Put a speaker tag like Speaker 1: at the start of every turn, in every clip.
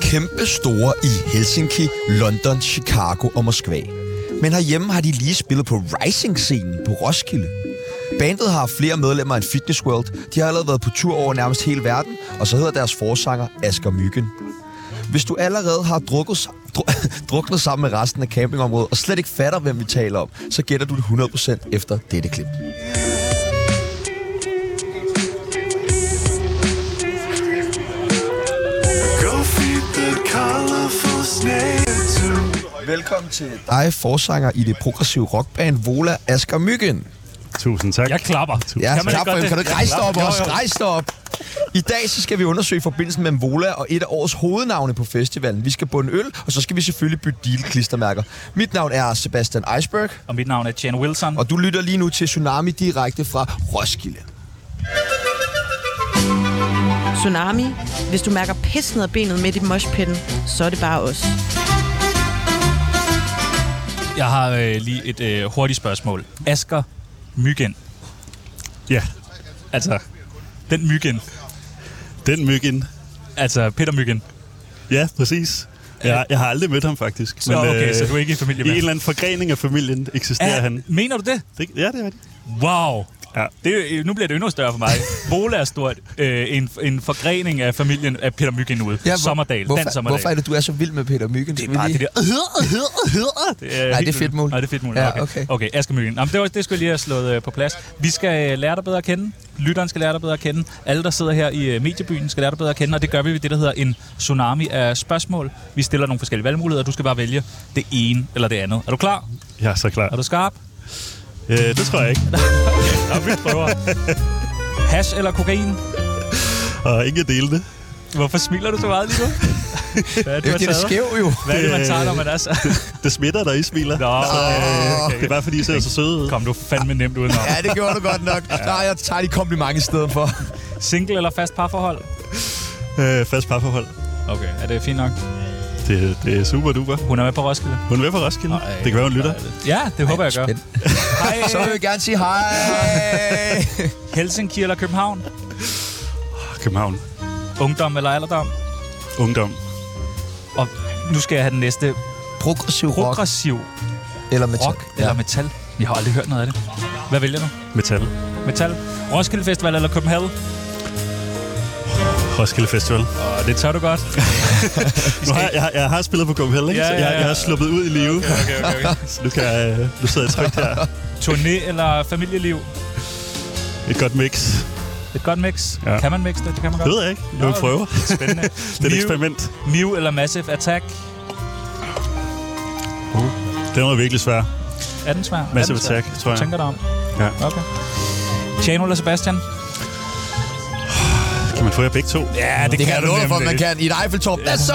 Speaker 1: kæmpe store i Helsinki, London, Chicago og Moskva. Men herhjemme har de lige spillet på Rising-scenen på Roskilde. Bandet har flere medlemmer end Fitness World. De har allerede været på tur over nærmest hele verden, og så hedder deres forsanger Asger Myggen. Hvis du allerede har drukket, sa- dru- druknet sammen med resten af campingområdet og slet ikke fatter, hvem vi taler om, så gætter du det 100% efter dette klip.
Speaker 2: Go feed the colorful snake to
Speaker 1: Velkommen til dig, forsanger i det progressive rockband Vola Asger Myggen.
Speaker 3: Tusind tak.
Speaker 4: Jeg klapper.
Speaker 1: Ja, kan, man
Speaker 4: godt
Speaker 1: for, det? kan du ikke rejse dig op
Speaker 4: Jo, jo.
Speaker 1: også? Rejse dig op. I dag så skal vi undersøge forbindelsen mellem Vola og et af årets hovednavne på festivalen. Vi skal bunde øl, og så skal vi selvfølgelig bytte deal-klistermærker. Mit navn er Sebastian Iceberg,
Speaker 4: Og mit navn er Jan Wilson.
Speaker 1: og du lytter lige nu til Tsunami direkte fra Roskilde.
Speaker 5: Tsunami. Hvis du mærker pis ned ad benet midt i moshpitten, så er det bare os.
Speaker 4: Jeg har øh, lige et øh, hurtigt spørgsmål. Asker Myggen.
Speaker 3: Ja,
Speaker 4: Altså, den Myggen.
Speaker 3: den myggen.
Speaker 4: Altså, Peter Myggen.
Speaker 3: Ja, præcis. Jeg, jeg har aldrig mødt ham faktisk.
Speaker 4: Så, okay,
Speaker 3: øh,
Speaker 4: så du er ikke i familie
Speaker 3: I
Speaker 4: med
Speaker 3: en eller anden forgrening af familien eksisterer han.
Speaker 4: Mener du det?
Speaker 3: Det, ja, det er rigtigt.
Speaker 4: Wow.
Speaker 3: Ja.
Speaker 4: Det, er- øh, nu bliver det endnu større for mig. Bola er stort. Øh, en, en forgrening af familien af Peter Myggen ude. Ja, Sommerdal.
Speaker 1: Hvorfor,
Speaker 4: Dansk Sommerdal.
Speaker 1: hvorfor er det, du er så vild med Peter Myggen?
Speaker 4: det er bare det der...
Speaker 3: Øh,
Speaker 1: Hedder, hedder, hedder.
Speaker 4: Det
Speaker 1: Nej,
Speaker 4: er Øh, helt
Speaker 1: det er
Speaker 4: vildt.
Speaker 1: fedt muligt.
Speaker 4: Nej, det er fedt muligt.
Speaker 1: Ja,
Speaker 4: okay.
Speaker 1: okay.
Speaker 4: Okay, okay Asger Myggen. Jamen, det, var, det skulle jeg lige have slået øh, på plads. Vi skal øh, lære dig bedre at kende. Lytteren skal lære dig bedre at kende. Alle, der sidder her i øh, mediebyen, skal lære dig bedre at kende. Og det gør vi ved det, der hedder en tsunami af spørgsmål. Vi stiller nogle forskellige valgmuligheder, og du skal bare vælge det ene eller det andet. Er du klar?
Speaker 3: Jeg er så klar.
Speaker 4: Er du skarp?
Speaker 3: Øh, det tror jeg ikke.
Speaker 4: Ja, vi prøver. Hash eller kokain?
Speaker 3: Og ikke dele det.
Speaker 4: Hvorfor smiler du så meget lige nu? Hvad er
Speaker 1: Det er jo det, der
Speaker 4: taget?
Speaker 1: skæv jo.
Speaker 4: Hvad er det, man tager, når man er så...
Speaker 3: Det smitter, der I smiler. øh,
Speaker 4: Nå, okay,
Speaker 3: Det
Speaker 4: okay.
Speaker 3: er bare fordi, I ser så søde ud.
Speaker 4: Kom, du fandme nemt udenom.
Speaker 1: Ja, det gjorde du godt nok. Nej, jeg tager de komplimenter i stedet for.
Speaker 4: Single eller fast parforhold?
Speaker 3: Øh, fast parforhold.
Speaker 4: Okay, er det fint nok?
Speaker 3: Det, det er super duper.
Speaker 4: Hun er med på Roskilde.
Speaker 3: Hun er med på Roskilde. det kan være, hun lytter.
Speaker 4: Ja, det håber jeg gør.
Speaker 1: spændende.
Speaker 4: Hej,
Speaker 1: Så vil jeg gerne sige hej.
Speaker 4: Helsinki eller København?
Speaker 3: København.
Speaker 4: Ungdom eller alderdom?
Speaker 3: Ungdom.
Speaker 4: Og nu skal jeg have den næste.
Speaker 1: Progressiv rock.
Speaker 4: Progressiv
Speaker 1: Eller metal.
Speaker 4: rock eller metal? Jeg har aldrig hørt noget af det. Hvad vælger du?
Speaker 3: Metal.
Speaker 4: Metal? Roskilde Festival eller København?
Speaker 3: Roskilde Festival.
Speaker 4: Og det tør du godt.
Speaker 3: Nu har, jeg, jeg, har- jeg har spillet på Copenhagen, ikke?
Speaker 4: Ja,
Speaker 3: Så
Speaker 4: ja,
Speaker 3: Jeg, jeg har
Speaker 4: ja.
Speaker 3: sluppet ud i live.
Speaker 4: Okay, okay, okay.
Speaker 3: Så nu, kan jeg, nu sidder jeg trygt her.
Speaker 4: Turné eller familieliv?
Speaker 3: Et godt mix.
Speaker 4: Et godt mix.
Speaker 3: Ja.
Speaker 4: Kan man mix det? Det kan man
Speaker 3: Det
Speaker 4: godt.
Speaker 3: ved jeg ikke. Nu vil jeg prøve.
Speaker 4: Spændende.
Speaker 3: Det er et
Speaker 4: New,
Speaker 3: eksperiment.
Speaker 4: New eller Massive Attack?
Speaker 3: Den var virkelig svær.
Speaker 4: Er den svær?
Speaker 3: Massive
Speaker 4: Er den svær?
Speaker 3: Attack, tror jeg.
Speaker 4: Tænker dig om.
Speaker 3: Ja.
Speaker 4: Okay. Tjano eller Sebastian?
Speaker 3: Kan man få jer begge to?
Speaker 4: Ja,
Speaker 1: Det kan jeg love for, at man kan. I et Eiffeltårn. Hvad så?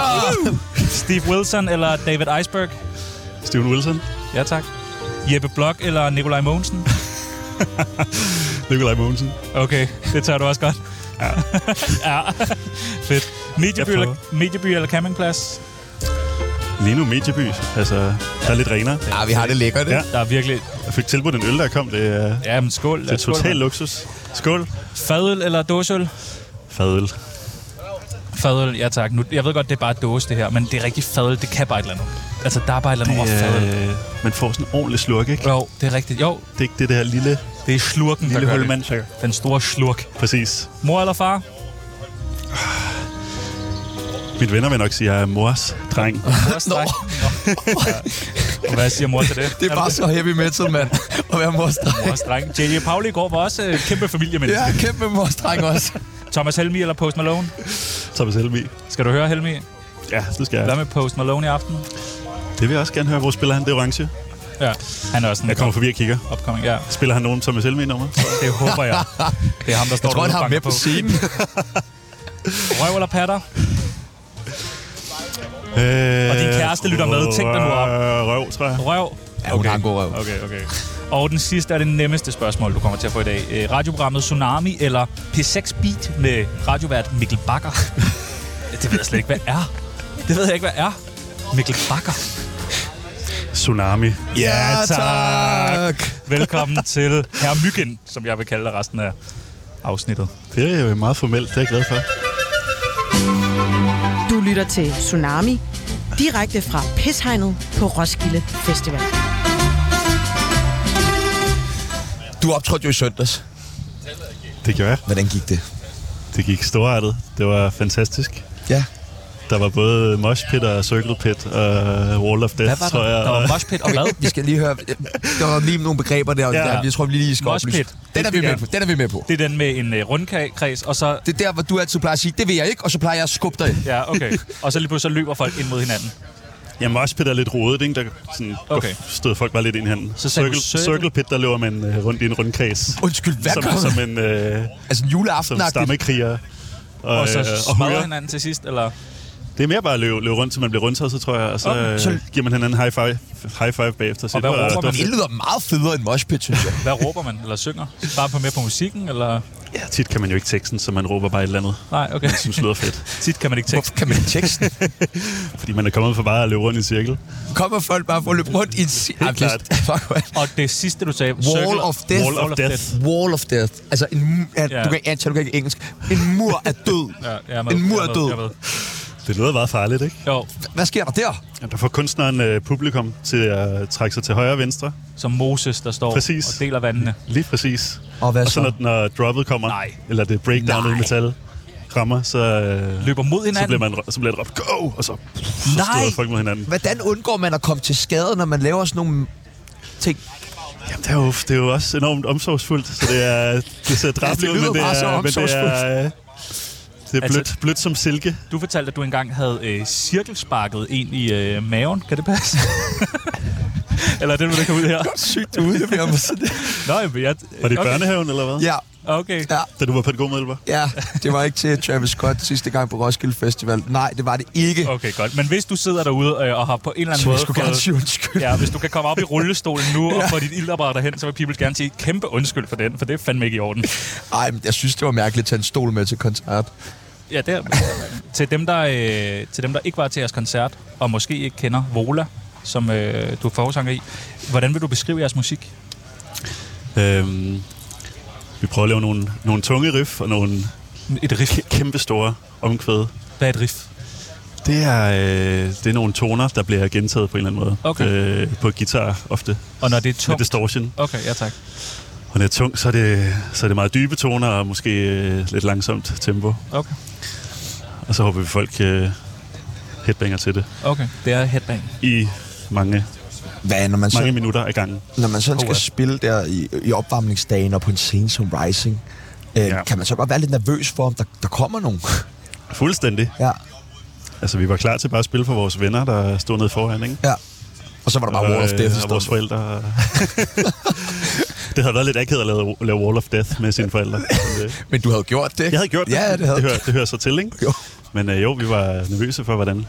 Speaker 4: Steve Wilson eller David Iceberg?
Speaker 3: Steven Wilson.
Speaker 4: Ja, tak. Jeppe Blok eller Nikolaj Mogensen?
Speaker 3: Nikolaj Mogensen.
Speaker 4: Okay, det tør du også godt.
Speaker 3: Ja.
Speaker 4: ja. Fedt. Medieby
Speaker 3: Jeg prøver.
Speaker 4: eller, medieby eller campingplads?
Speaker 3: Lige nu Medieby. Altså, der er lidt renere.
Speaker 1: Ja, Ah, vi har det lækkert.
Speaker 3: Ja.
Speaker 1: Ja.
Speaker 4: Der er virkelig...
Speaker 3: Jeg fik tilbudt en øl, der kom. Det er,
Speaker 4: Ja, men skål.
Speaker 3: det er total
Speaker 4: mand.
Speaker 3: luksus. Skål.
Speaker 4: Fadøl eller dåseøl?
Speaker 3: Fadøl.
Speaker 4: Fadøl, ja tak. Nu, jeg ved godt, det er bare dåse, det her, men det er rigtig fadøl. Det kan bare et eller andet. Altså, der er bare et eller andet over fadøl.
Speaker 3: Øh, man får sådan en ordentlig slurk, ikke?
Speaker 4: Jo, det er rigtigt. Jo,
Speaker 3: Det er ikke det der lille,
Speaker 4: det er slurken,
Speaker 3: lille
Speaker 4: der gør
Speaker 3: hul,
Speaker 4: det.
Speaker 3: man tager.
Speaker 4: Den store slurk.
Speaker 3: Præcis.
Speaker 4: Mor eller far?
Speaker 3: Mit venner vil nok sige, at jeg er mors dreng.
Speaker 4: Mors, Nå. Ja. Hvad siger mor til det?
Speaker 1: Det er bare så heavy metal, mand. At være morstreng.
Speaker 4: Mors dreng. J.J. Pauli i går var også øh, kæmpe familiemenneske.
Speaker 1: Ja, kæmpe morstreng også.
Speaker 4: Thomas Helmi eller Post Malone?
Speaker 3: Thomas Helmi.
Speaker 4: Skal du høre Helmi?
Speaker 3: Ja, det skal
Speaker 4: Hvad
Speaker 3: jeg.
Speaker 4: med Post Malone i aften?
Speaker 3: Det vil jeg også gerne høre. Hvor spiller han det orange?
Speaker 4: Ja, han er også en
Speaker 3: Jeg kommer forbi og kigger.
Speaker 4: opkoming. Ja,
Speaker 3: Spiller han nogen Thomas Helmi-nummer?
Speaker 4: det håber jeg. Det er ham, der står
Speaker 1: Jeg tror, han
Speaker 4: derude og
Speaker 1: har ham med
Speaker 4: banker
Speaker 1: på scenen.
Speaker 4: Røv eller patter?
Speaker 3: Øh,
Speaker 4: Og din kæreste lytter med. Tænk dig nu op.
Speaker 3: røv, Røv, tror jeg.
Speaker 4: Røv.
Speaker 1: Ja, hun har en god røv.
Speaker 4: Okay, okay. Og den sidste er det nemmeste spørgsmål, du kommer til at få i dag. Øh, Radioprogrammet Tsunami eller P6 Beat med radiovært Mikkel Bakker? det ved jeg slet ikke, hvad er. Det ved jeg ikke, hvad er. Mikkel Bakker.
Speaker 3: Tsunami.
Speaker 4: Ja, tak. Velkommen til herr Myggen, som jeg vil kalde dig resten af afsnittet.
Speaker 3: Det er jo meget formelt. Det er jeg glad for.
Speaker 5: Du lytter til Tsunami, direkte fra Pishegnet på Roskilde Festival.
Speaker 1: Du optrådte jo i søndags.
Speaker 3: Det gjorde jeg.
Speaker 1: Hvordan gik det?
Speaker 3: Det gik storartet. Det var fantastisk.
Speaker 1: Ja.
Speaker 3: Der var både mosh pit og circle pit og wall of
Speaker 4: Hvad
Speaker 3: death,
Speaker 4: var
Speaker 3: tror
Speaker 4: der?
Speaker 3: jeg.
Speaker 4: Der
Speaker 3: og-
Speaker 4: var moshpit og hvad?
Speaker 1: Vi skal lige høre... Der var lige nogle begreber der, ja.
Speaker 3: Ja.
Speaker 1: der jeg tror vi lige skal
Speaker 4: Moshpit.
Speaker 1: oplyse. Den er vi med på. Den er vi med på.
Speaker 4: Det er den med en øh, rundkreds, og så...
Speaker 1: Det er der, hvor du altid plejer at sige, det vil jeg ikke, og så plejer jeg at skubbe dig ind.
Speaker 4: Ja, okay. Og så lige pludselig så løber folk ind mod hinanden.
Speaker 3: Ja, mosh pit er lidt rodet, ikke? Der sådan,
Speaker 4: Okay.
Speaker 3: okay. stod folk bare lidt ind i handen.
Speaker 4: Så
Speaker 3: Så
Speaker 4: sagde du
Speaker 3: circle,
Speaker 4: circle?
Speaker 3: circle pit, der løber man øh, rundt i en rundkreds.
Speaker 1: Undskyld, hvad
Speaker 3: som,
Speaker 1: gør du?
Speaker 3: som en, øh,
Speaker 1: Altså en
Speaker 3: som
Speaker 1: juleaften
Speaker 3: stammekriger. Og,
Speaker 4: Og så
Speaker 3: øh,
Speaker 4: smadrer
Speaker 3: hugger.
Speaker 4: hinanden til sidst, eller...
Speaker 3: Det er mere bare at løbe, løbe rundt, til man bliver rundtasset, tror jeg. Og så,
Speaker 4: Okay.
Speaker 3: øh,
Speaker 1: Så-
Speaker 3: så giver man hinanden high five, high five bagefter. Så
Speaker 4: Og hvad
Speaker 3: det var-
Speaker 4: råber man?
Speaker 1: Det lyder meget federe end moshpit, synes jeg.
Speaker 4: Hvad råber man? Eller synger? Bare på mere på musikken, eller...
Speaker 3: Ja, tit kan man jo ikke teksten, så man råber bare et eller andet,
Speaker 4: Nej, okay.
Speaker 3: som lyder fedt.
Speaker 4: Tit kan man ikke
Speaker 1: Hvorfor
Speaker 4: tekst.
Speaker 1: kan man ikke teksten?
Speaker 3: Fordi man er kommet for bare at løbe rundt i en cirkel.
Speaker 1: Kommer folk bare for at løbe rundt i en... si- Ej,
Speaker 3: klart.
Speaker 1: det- Fuck, man.
Speaker 4: Og det sidste, du sagde...
Speaker 1: Wall of Death.
Speaker 3: Wall of death.
Speaker 1: Wall of Death. Altså en... mu- Ja,
Speaker 4: Ja.
Speaker 1: Du kan, Anton, du kan ikke engelsk. En mur af død.
Speaker 4: Ja, jeg er med.
Speaker 1: En mur
Speaker 4: Jeg
Speaker 1: af
Speaker 4: er
Speaker 1: død.
Speaker 4: med, jeg er med.
Speaker 3: Det lyder meget farligt, ikke?
Speaker 4: Jo,
Speaker 1: Hvad sker der der?
Speaker 3: Jamen, Der får kunstneren øh, publikum til at trække sig til højre og venstre.
Speaker 4: som Moses, der står
Speaker 3: Præcis.
Speaker 4: og deler vandene.
Speaker 3: Lige præcis.
Speaker 1: Og hvad
Speaker 3: og så
Speaker 1: så?
Speaker 3: når, når droppet kommer,
Speaker 4: Nej.
Speaker 3: eller det breakdownet i metal rammer, så, øh,
Speaker 4: Løber mod
Speaker 3: så,
Speaker 4: hinanden.
Speaker 3: bliver man, så bliver det råbt, go! Og så, så støder folk mod hinanden.
Speaker 1: Hvordan undgår man at komme til skade, når man laver sådan nogle ting?
Speaker 3: Jamen, det er, jo, det er jo også enormt omsorgsfuldt, så det er, det ser drabeligt ud,
Speaker 1: lyder
Speaker 3: men det
Speaker 1: bare så
Speaker 3: er, men det er, øh, det er
Speaker 4: Altså-
Speaker 3: blødt, blødt som silke.
Speaker 4: Du fortalte, at du engang havde øh, cirkelsparket en i øh, maven. Kan det passe? eller er det, nu, der kommer ud her?
Speaker 1: Sygt, du udleverer mig sådan der.
Speaker 4: Nej, men jeg...
Speaker 3: Var det i
Speaker 4: okay.
Speaker 3: børnehaven, eller hvad?
Speaker 1: Ja,
Speaker 4: Okay.
Speaker 1: ja,
Speaker 3: Da du var pædagogmedhjælper?
Speaker 1: ja. Det var ikke til Travis Scott sidste gang på Roskilde Festival. Nej, det var det ikke.
Speaker 4: Okay, godt. Men hvis du sidder derude øh, og har på en eller anden
Speaker 1: Så jeg
Speaker 4: måde...
Speaker 1: skulle gerne
Speaker 4: fået-
Speaker 1: sige undskyld.
Speaker 4: Ja, hvis du kan komme op i rullestolen nu og få dit ildapparat derhen, så vil People gerne sige kæmpe undskyld for den, for det er fandme ikke i orden.
Speaker 1: Ej, men jeg synes, det var mærkeligt at tage en stol med til koncert.
Speaker 4: Ja, det er, til, dem, der, øh, til dem, der ikke var til jeres koncert, og måske ikke kender Vola, som øh, du er forsanger i, hvordan vil du beskrive jeres musik?
Speaker 3: Øhm, vi prøver at lave nogle, nogle tunge riff og nogle
Speaker 4: Et riff.
Speaker 3: kæmpe store omkvæde.
Speaker 4: Hvad er et riff?
Speaker 3: Det er, øh, det er nogle toner, der bliver gentaget på en eller anden måde.
Speaker 4: Okay.
Speaker 3: Øh, på guitar ofte.
Speaker 4: Og når det
Speaker 3: Med
Speaker 4: er tungt?
Speaker 3: distortion.
Speaker 4: Okay, ja tak.
Speaker 3: Og når det er tungt, så er det, så er det meget dybe toner og måske øh, lidt langsomt tempo.
Speaker 4: Okay,
Speaker 3: Og så håber vi, folk øh, headbanger til det
Speaker 4: okay. Det er headbang.
Speaker 3: i mange,
Speaker 1: Hvad, når man
Speaker 3: mange
Speaker 1: så,
Speaker 3: minutter ad gangen.
Speaker 1: når man sådan skal
Speaker 4: Åh,
Speaker 1: spille der i, i opvarmningsdagen og på en scene som Rising, øh, ja.
Speaker 3: Ja.
Speaker 1: kan man så godt være lidt nervøs for, om der, der kommer nogen?
Speaker 3: Fuldstændig.
Speaker 1: ja,
Speaker 3: Altså, vi var klar til bare at spille for vores venner, der stod nede foran, ikke?
Speaker 1: ja. Og så var der bare Wall of
Speaker 3: Øh,
Speaker 1: Death i
Speaker 3: og vores
Speaker 1: stedet.
Speaker 3: forældre. det havde været lidt akavet at lave, lave Wall of Death med sine forældre. Men, øh,
Speaker 1: Men du havde gjort det.
Speaker 3: Jeg havde gjort det.
Speaker 1: Ja, det havde
Speaker 3: det,
Speaker 1: du.
Speaker 3: hører, det hører sig til, ikke?
Speaker 1: Jo.
Speaker 3: Men øh, jo, vi var nervøse for, hvordan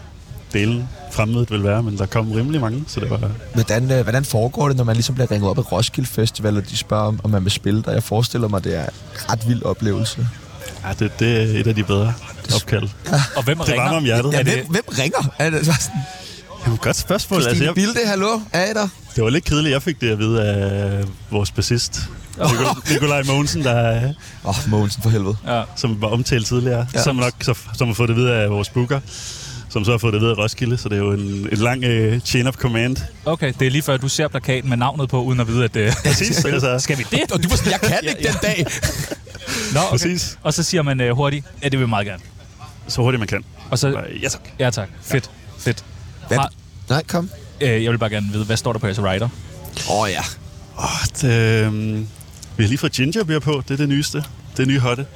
Speaker 3: delen fremmødet ville være, men der kom rimelig mange, så det var...
Speaker 1: Hvordan, øh, hvordan foregår det, når man ligesom bliver ringet op af Roskilde Festival, og de spørger, om, om man vil spille der? Jeg forestiller mig, det er en ret vild oplevelse.
Speaker 3: Ja, det, det er et af de bedre opkald.
Speaker 4: Og hvem
Speaker 3: Det
Speaker 4: ringer?
Speaker 3: varmer om hjertet.
Speaker 1: Ja,
Speaker 3: Ja, det
Speaker 1: hvem, hvem ringer? Er det bare sådan,
Speaker 3: Jamen, godt spørgsmål. Altså,
Speaker 1: Stine
Speaker 3: jeg,
Speaker 1: Bilde, hallo? Er I der?
Speaker 3: det var lidt kedeligt, jeg fik det at vide af vores bassist, Nikol- Nikolaj Mogensen, der, øh,
Speaker 1: Åh, oh, Mogensen for helvede.
Speaker 4: Ja.
Speaker 3: som var omtalt tidligere,
Speaker 1: Ja.
Speaker 3: ja. som nok så, som har fået det videre af vores booker, som så har fået det videre af Roskilde, så det er jo en, en lang øh, chain of command.
Speaker 4: Okay, det er lige før, du ser plakaten med navnet på, uden at vide, at... Øh,
Speaker 3: Præcis, altså.
Speaker 4: skal vi det?
Speaker 1: Og du var sådan, jeg kan ikke den dag.
Speaker 4: Nå, okay.
Speaker 3: Præcis.
Speaker 4: Og så siger man øh, hurtigt, ja, det vil vi meget gerne.
Speaker 3: Så hurtigt man kan.
Speaker 4: Og så,
Speaker 3: Bare, Ja, tak.
Speaker 4: ja tak, fedt, fedt.
Speaker 1: Hvad?
Speaker 4: Har-
Speaker 1: Nej, kom.
Speaker 4: Øh, jeg vil bare gerne vide, hvad står der på jeres rider?
Speaker 1: Åh oh, ja.
Speaker 3: Godt. Øh, vi har lige fået gingerbeer på. Det er det nyeste. Det er nye hotte.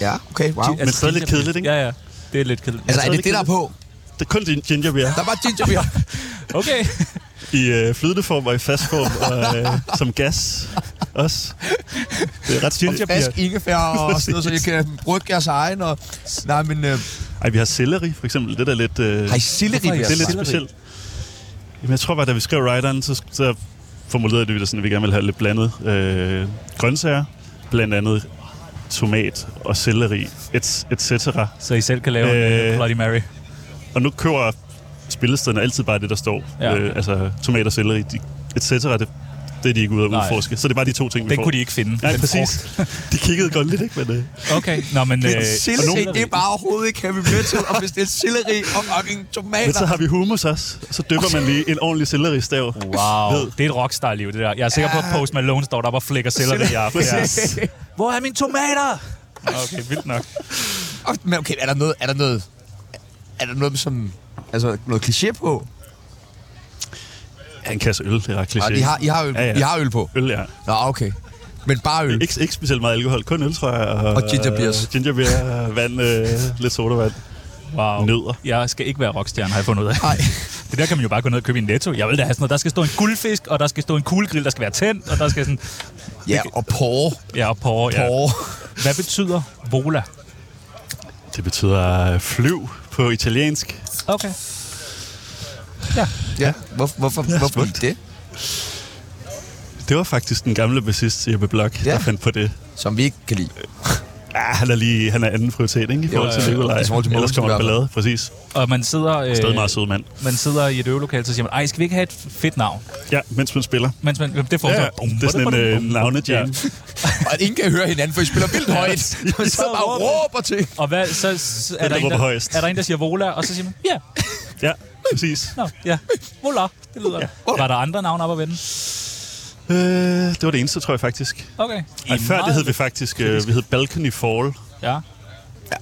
Speaker 1: Ja, okay, wow.
Speaker 3: Men stadig lidt kedeligt, ikke?
Speaker 4: Altså, Ja, ja. Det er lidt kedeligt.
Speaker 1: Altså, er
Speaker 3: tror,
Speaker 1: det
Speaker 3: det
Speaker 1: det, der er på?
Speaker 3: Det er kun gin- gingerbeer.
Speaker 1: Der var ginger beer.
Speaker 4: Okay.
Speaker 3: I øh, flydende form og i fast form og øh, som gas også. Det er ret
Speaker 1: Frisk
Speaker 3: gingerbeer.
Speaker 1: ingefær og sådan noget, så jeg kan bruge jeres egen. Og... Nej, men øh,
Speaker 3: Ej, vi har selleri for eksempel. Det er da lidt... Øh,
Speaker 1: har I selleri?
Speaker 4: Hvorfor
Speaker 3: det
Speaker 1: beer?
Speaker 3: er lidt
Speaker 4: selleri?
Speaker 3: specielt. Jamen, jeg tror bare, da vi skrev rideren, så, så formulerede vi det sådan, at vi gerne ville have lidt blandet øh, grøntsager. Blandt andet tomat og selleri, et, et cetera.
Speaker 4: Så I selv kan lave øh,
Speaker 3: Øh.
Speaker 4: en Bloody Mary.
Speaker 3: Og nu køber spillestederne altid bare det, der står.
Speaker 4: Ja.
Speaker 3: Ja. Øh, altså tomater, selleri, de, et cetera. Det, Det er de ikke ude at
Speaker 4: Nej.
Speaker 3: udforske. Så det er bare de to ting, vi
Speaker 4: Den
Speaker 3: får.
Speaker 4: kunne de ikke finde.
Speaker 3: Nej,
Speaker 4: den
Speaker 3: præcis.
Speaker 4: frugt.
Speaker 3: De kiggede godt lidt, ikke? Men, øh,
Speaker 4: Okay, nå, men... Øh,
Speaker 1: Selleri,
Speaker 4: og
Speaker 1: nogen,
Speaker 4: nogen-
Speaker 1: det er bare overhovedet ikke Happy Metal, og hvis det er selleri og fucking
Speaker 3: men
Speaker 1: tomater.
Speaker 3: så har vi hummus også. Så dypper man lige en ordentlig selleristav.
Speaker 4: Wow, det er et rockstar-liv, det der. Jeg er sikker på, at Post Malone står deroppe og flækker selleri i aften.
Speaker 3: Præcis.
Speaker 4: Hvor er mine tomater? Okay, vildt nok.
Speaker 1: Og- Men okay, er der noget, er der noget, er der noget, som, altså noget kliché på?
Speaker 3: Ja, en kasse øl, det er ret
Speaker 1: Og
Speaker 3: kliché.
Speaker 1: I har, I har, øl,
Speaker 3: Ja, ja.
Speaker 1: I har øl på?
Speaker 3: Øl, ja.
Speaker 1: Nå, okay. Men bare øl.
Speaker 3: Ikke, ikke specielt meget alkohol, kun øl, tror jeg. Og,
Speaker 1: Og ginger beers.
Speaker 3: Øh, ginger beer, vand, øh, lidt sodavand.
Speaker 4: Wow.
Speaker 3: Nødder.
Speaker 4: Jeg skal ikke være rockstjerne, har jeg fundet ud af.
Speaker 1: Nej.
Speaker 4: Det der kan man jo bare gå ned og købe i Netto. Jeg vil da have sådan noget. Der skal stå en guldfisk, og der skal stå en kuglegrill, der skal være tændt, og der skal sådan...
Speaker 1: Ja, og porre.
Speaker 4: Ja, og porre, ja.
Speaker 1: Porre.
Speaker 4: Hvad betyder vola?
Speaker 3: Det betyder øh, flyv på italiensk.
Speaker 4: Okay.
Speaker 1: Ja, hvorfor, hvorfor,
Speaker 3: Ja,
Speaker 1: hvorfor
Speaker 3: smukt.
Speaker 1: det?
Speaker 3: Det var faktisk den gamle bassist, Jeppe Blok,
Speaker 1: Ja.
Speaker 3: der fandt på det.
Speaker 1: Som vi ikke kan lide.
Speaker 3: Ja, han er lige han er anden prioritet, ikke? I forhold
Speaker 4: ja,
Speaker 3: til
Speaker 4: ja.
Speaker 3: Nikolaj.
Speaker 1: I forhold til
Speaker 3: Ellers
Speaker 1: Mogensen
Speaker 3: kommer
Speaker 1: i
Speaker 3: der
Speaker 1: hvert fald.
Speaker 3: ballade, præcis.
Speaker 4: Og man sidder,
Speaker 3: Stadig
Speaker 4: øh,
Speaker 3: meget sød mand.
Speaker 4: man sidder i et øvelokale, så siger man, ej, skal vi ikke have et fedt navn?
Speaker 3: Ja, mens man spiller.
Speaker 4: Mens man, det får
Speaker 3: Ja,
Speaker 4: man
Speaker 3: ja.
Speaker 4: så- bum,
Speaker 3: det er sådan en
Speaker 4: bum, bum,
Speaker 3: øh,
Speaker 4: bum.
Speaker 3: navnejam.
Speaker 4: Ja.
Speaker 1: Og at ingen kan høre hinanden, for I spiller vildt højt. Og I sidder bare og råber til.
Speaker 4: Og hvad, så s- er,
Speaker 3: der
Speaker 4: der en,
Speaker 3: råber
Speaker 4: der,
Speaker 3: højest.
Speaker 4: er der en, der siger vola, og så siger man, ja,
Speaker 3: Ja, præcis.
Speaker 4: nå, ja, vola, det lyder ja. Var der andre navne op at vende?
Speaker 3: Øh, det var det eneste, tror jeg faktisk.
Speaker 4: Okay. I
Speaker 3: Ej,
Speaker 4: er
Speaker 3: før det
Speaker 4: meget-
Speaker 3: hed vi faktisk, øh, vi hed Balcony Fall.
Speaker 4: Ja.
Speaker 1: Ja,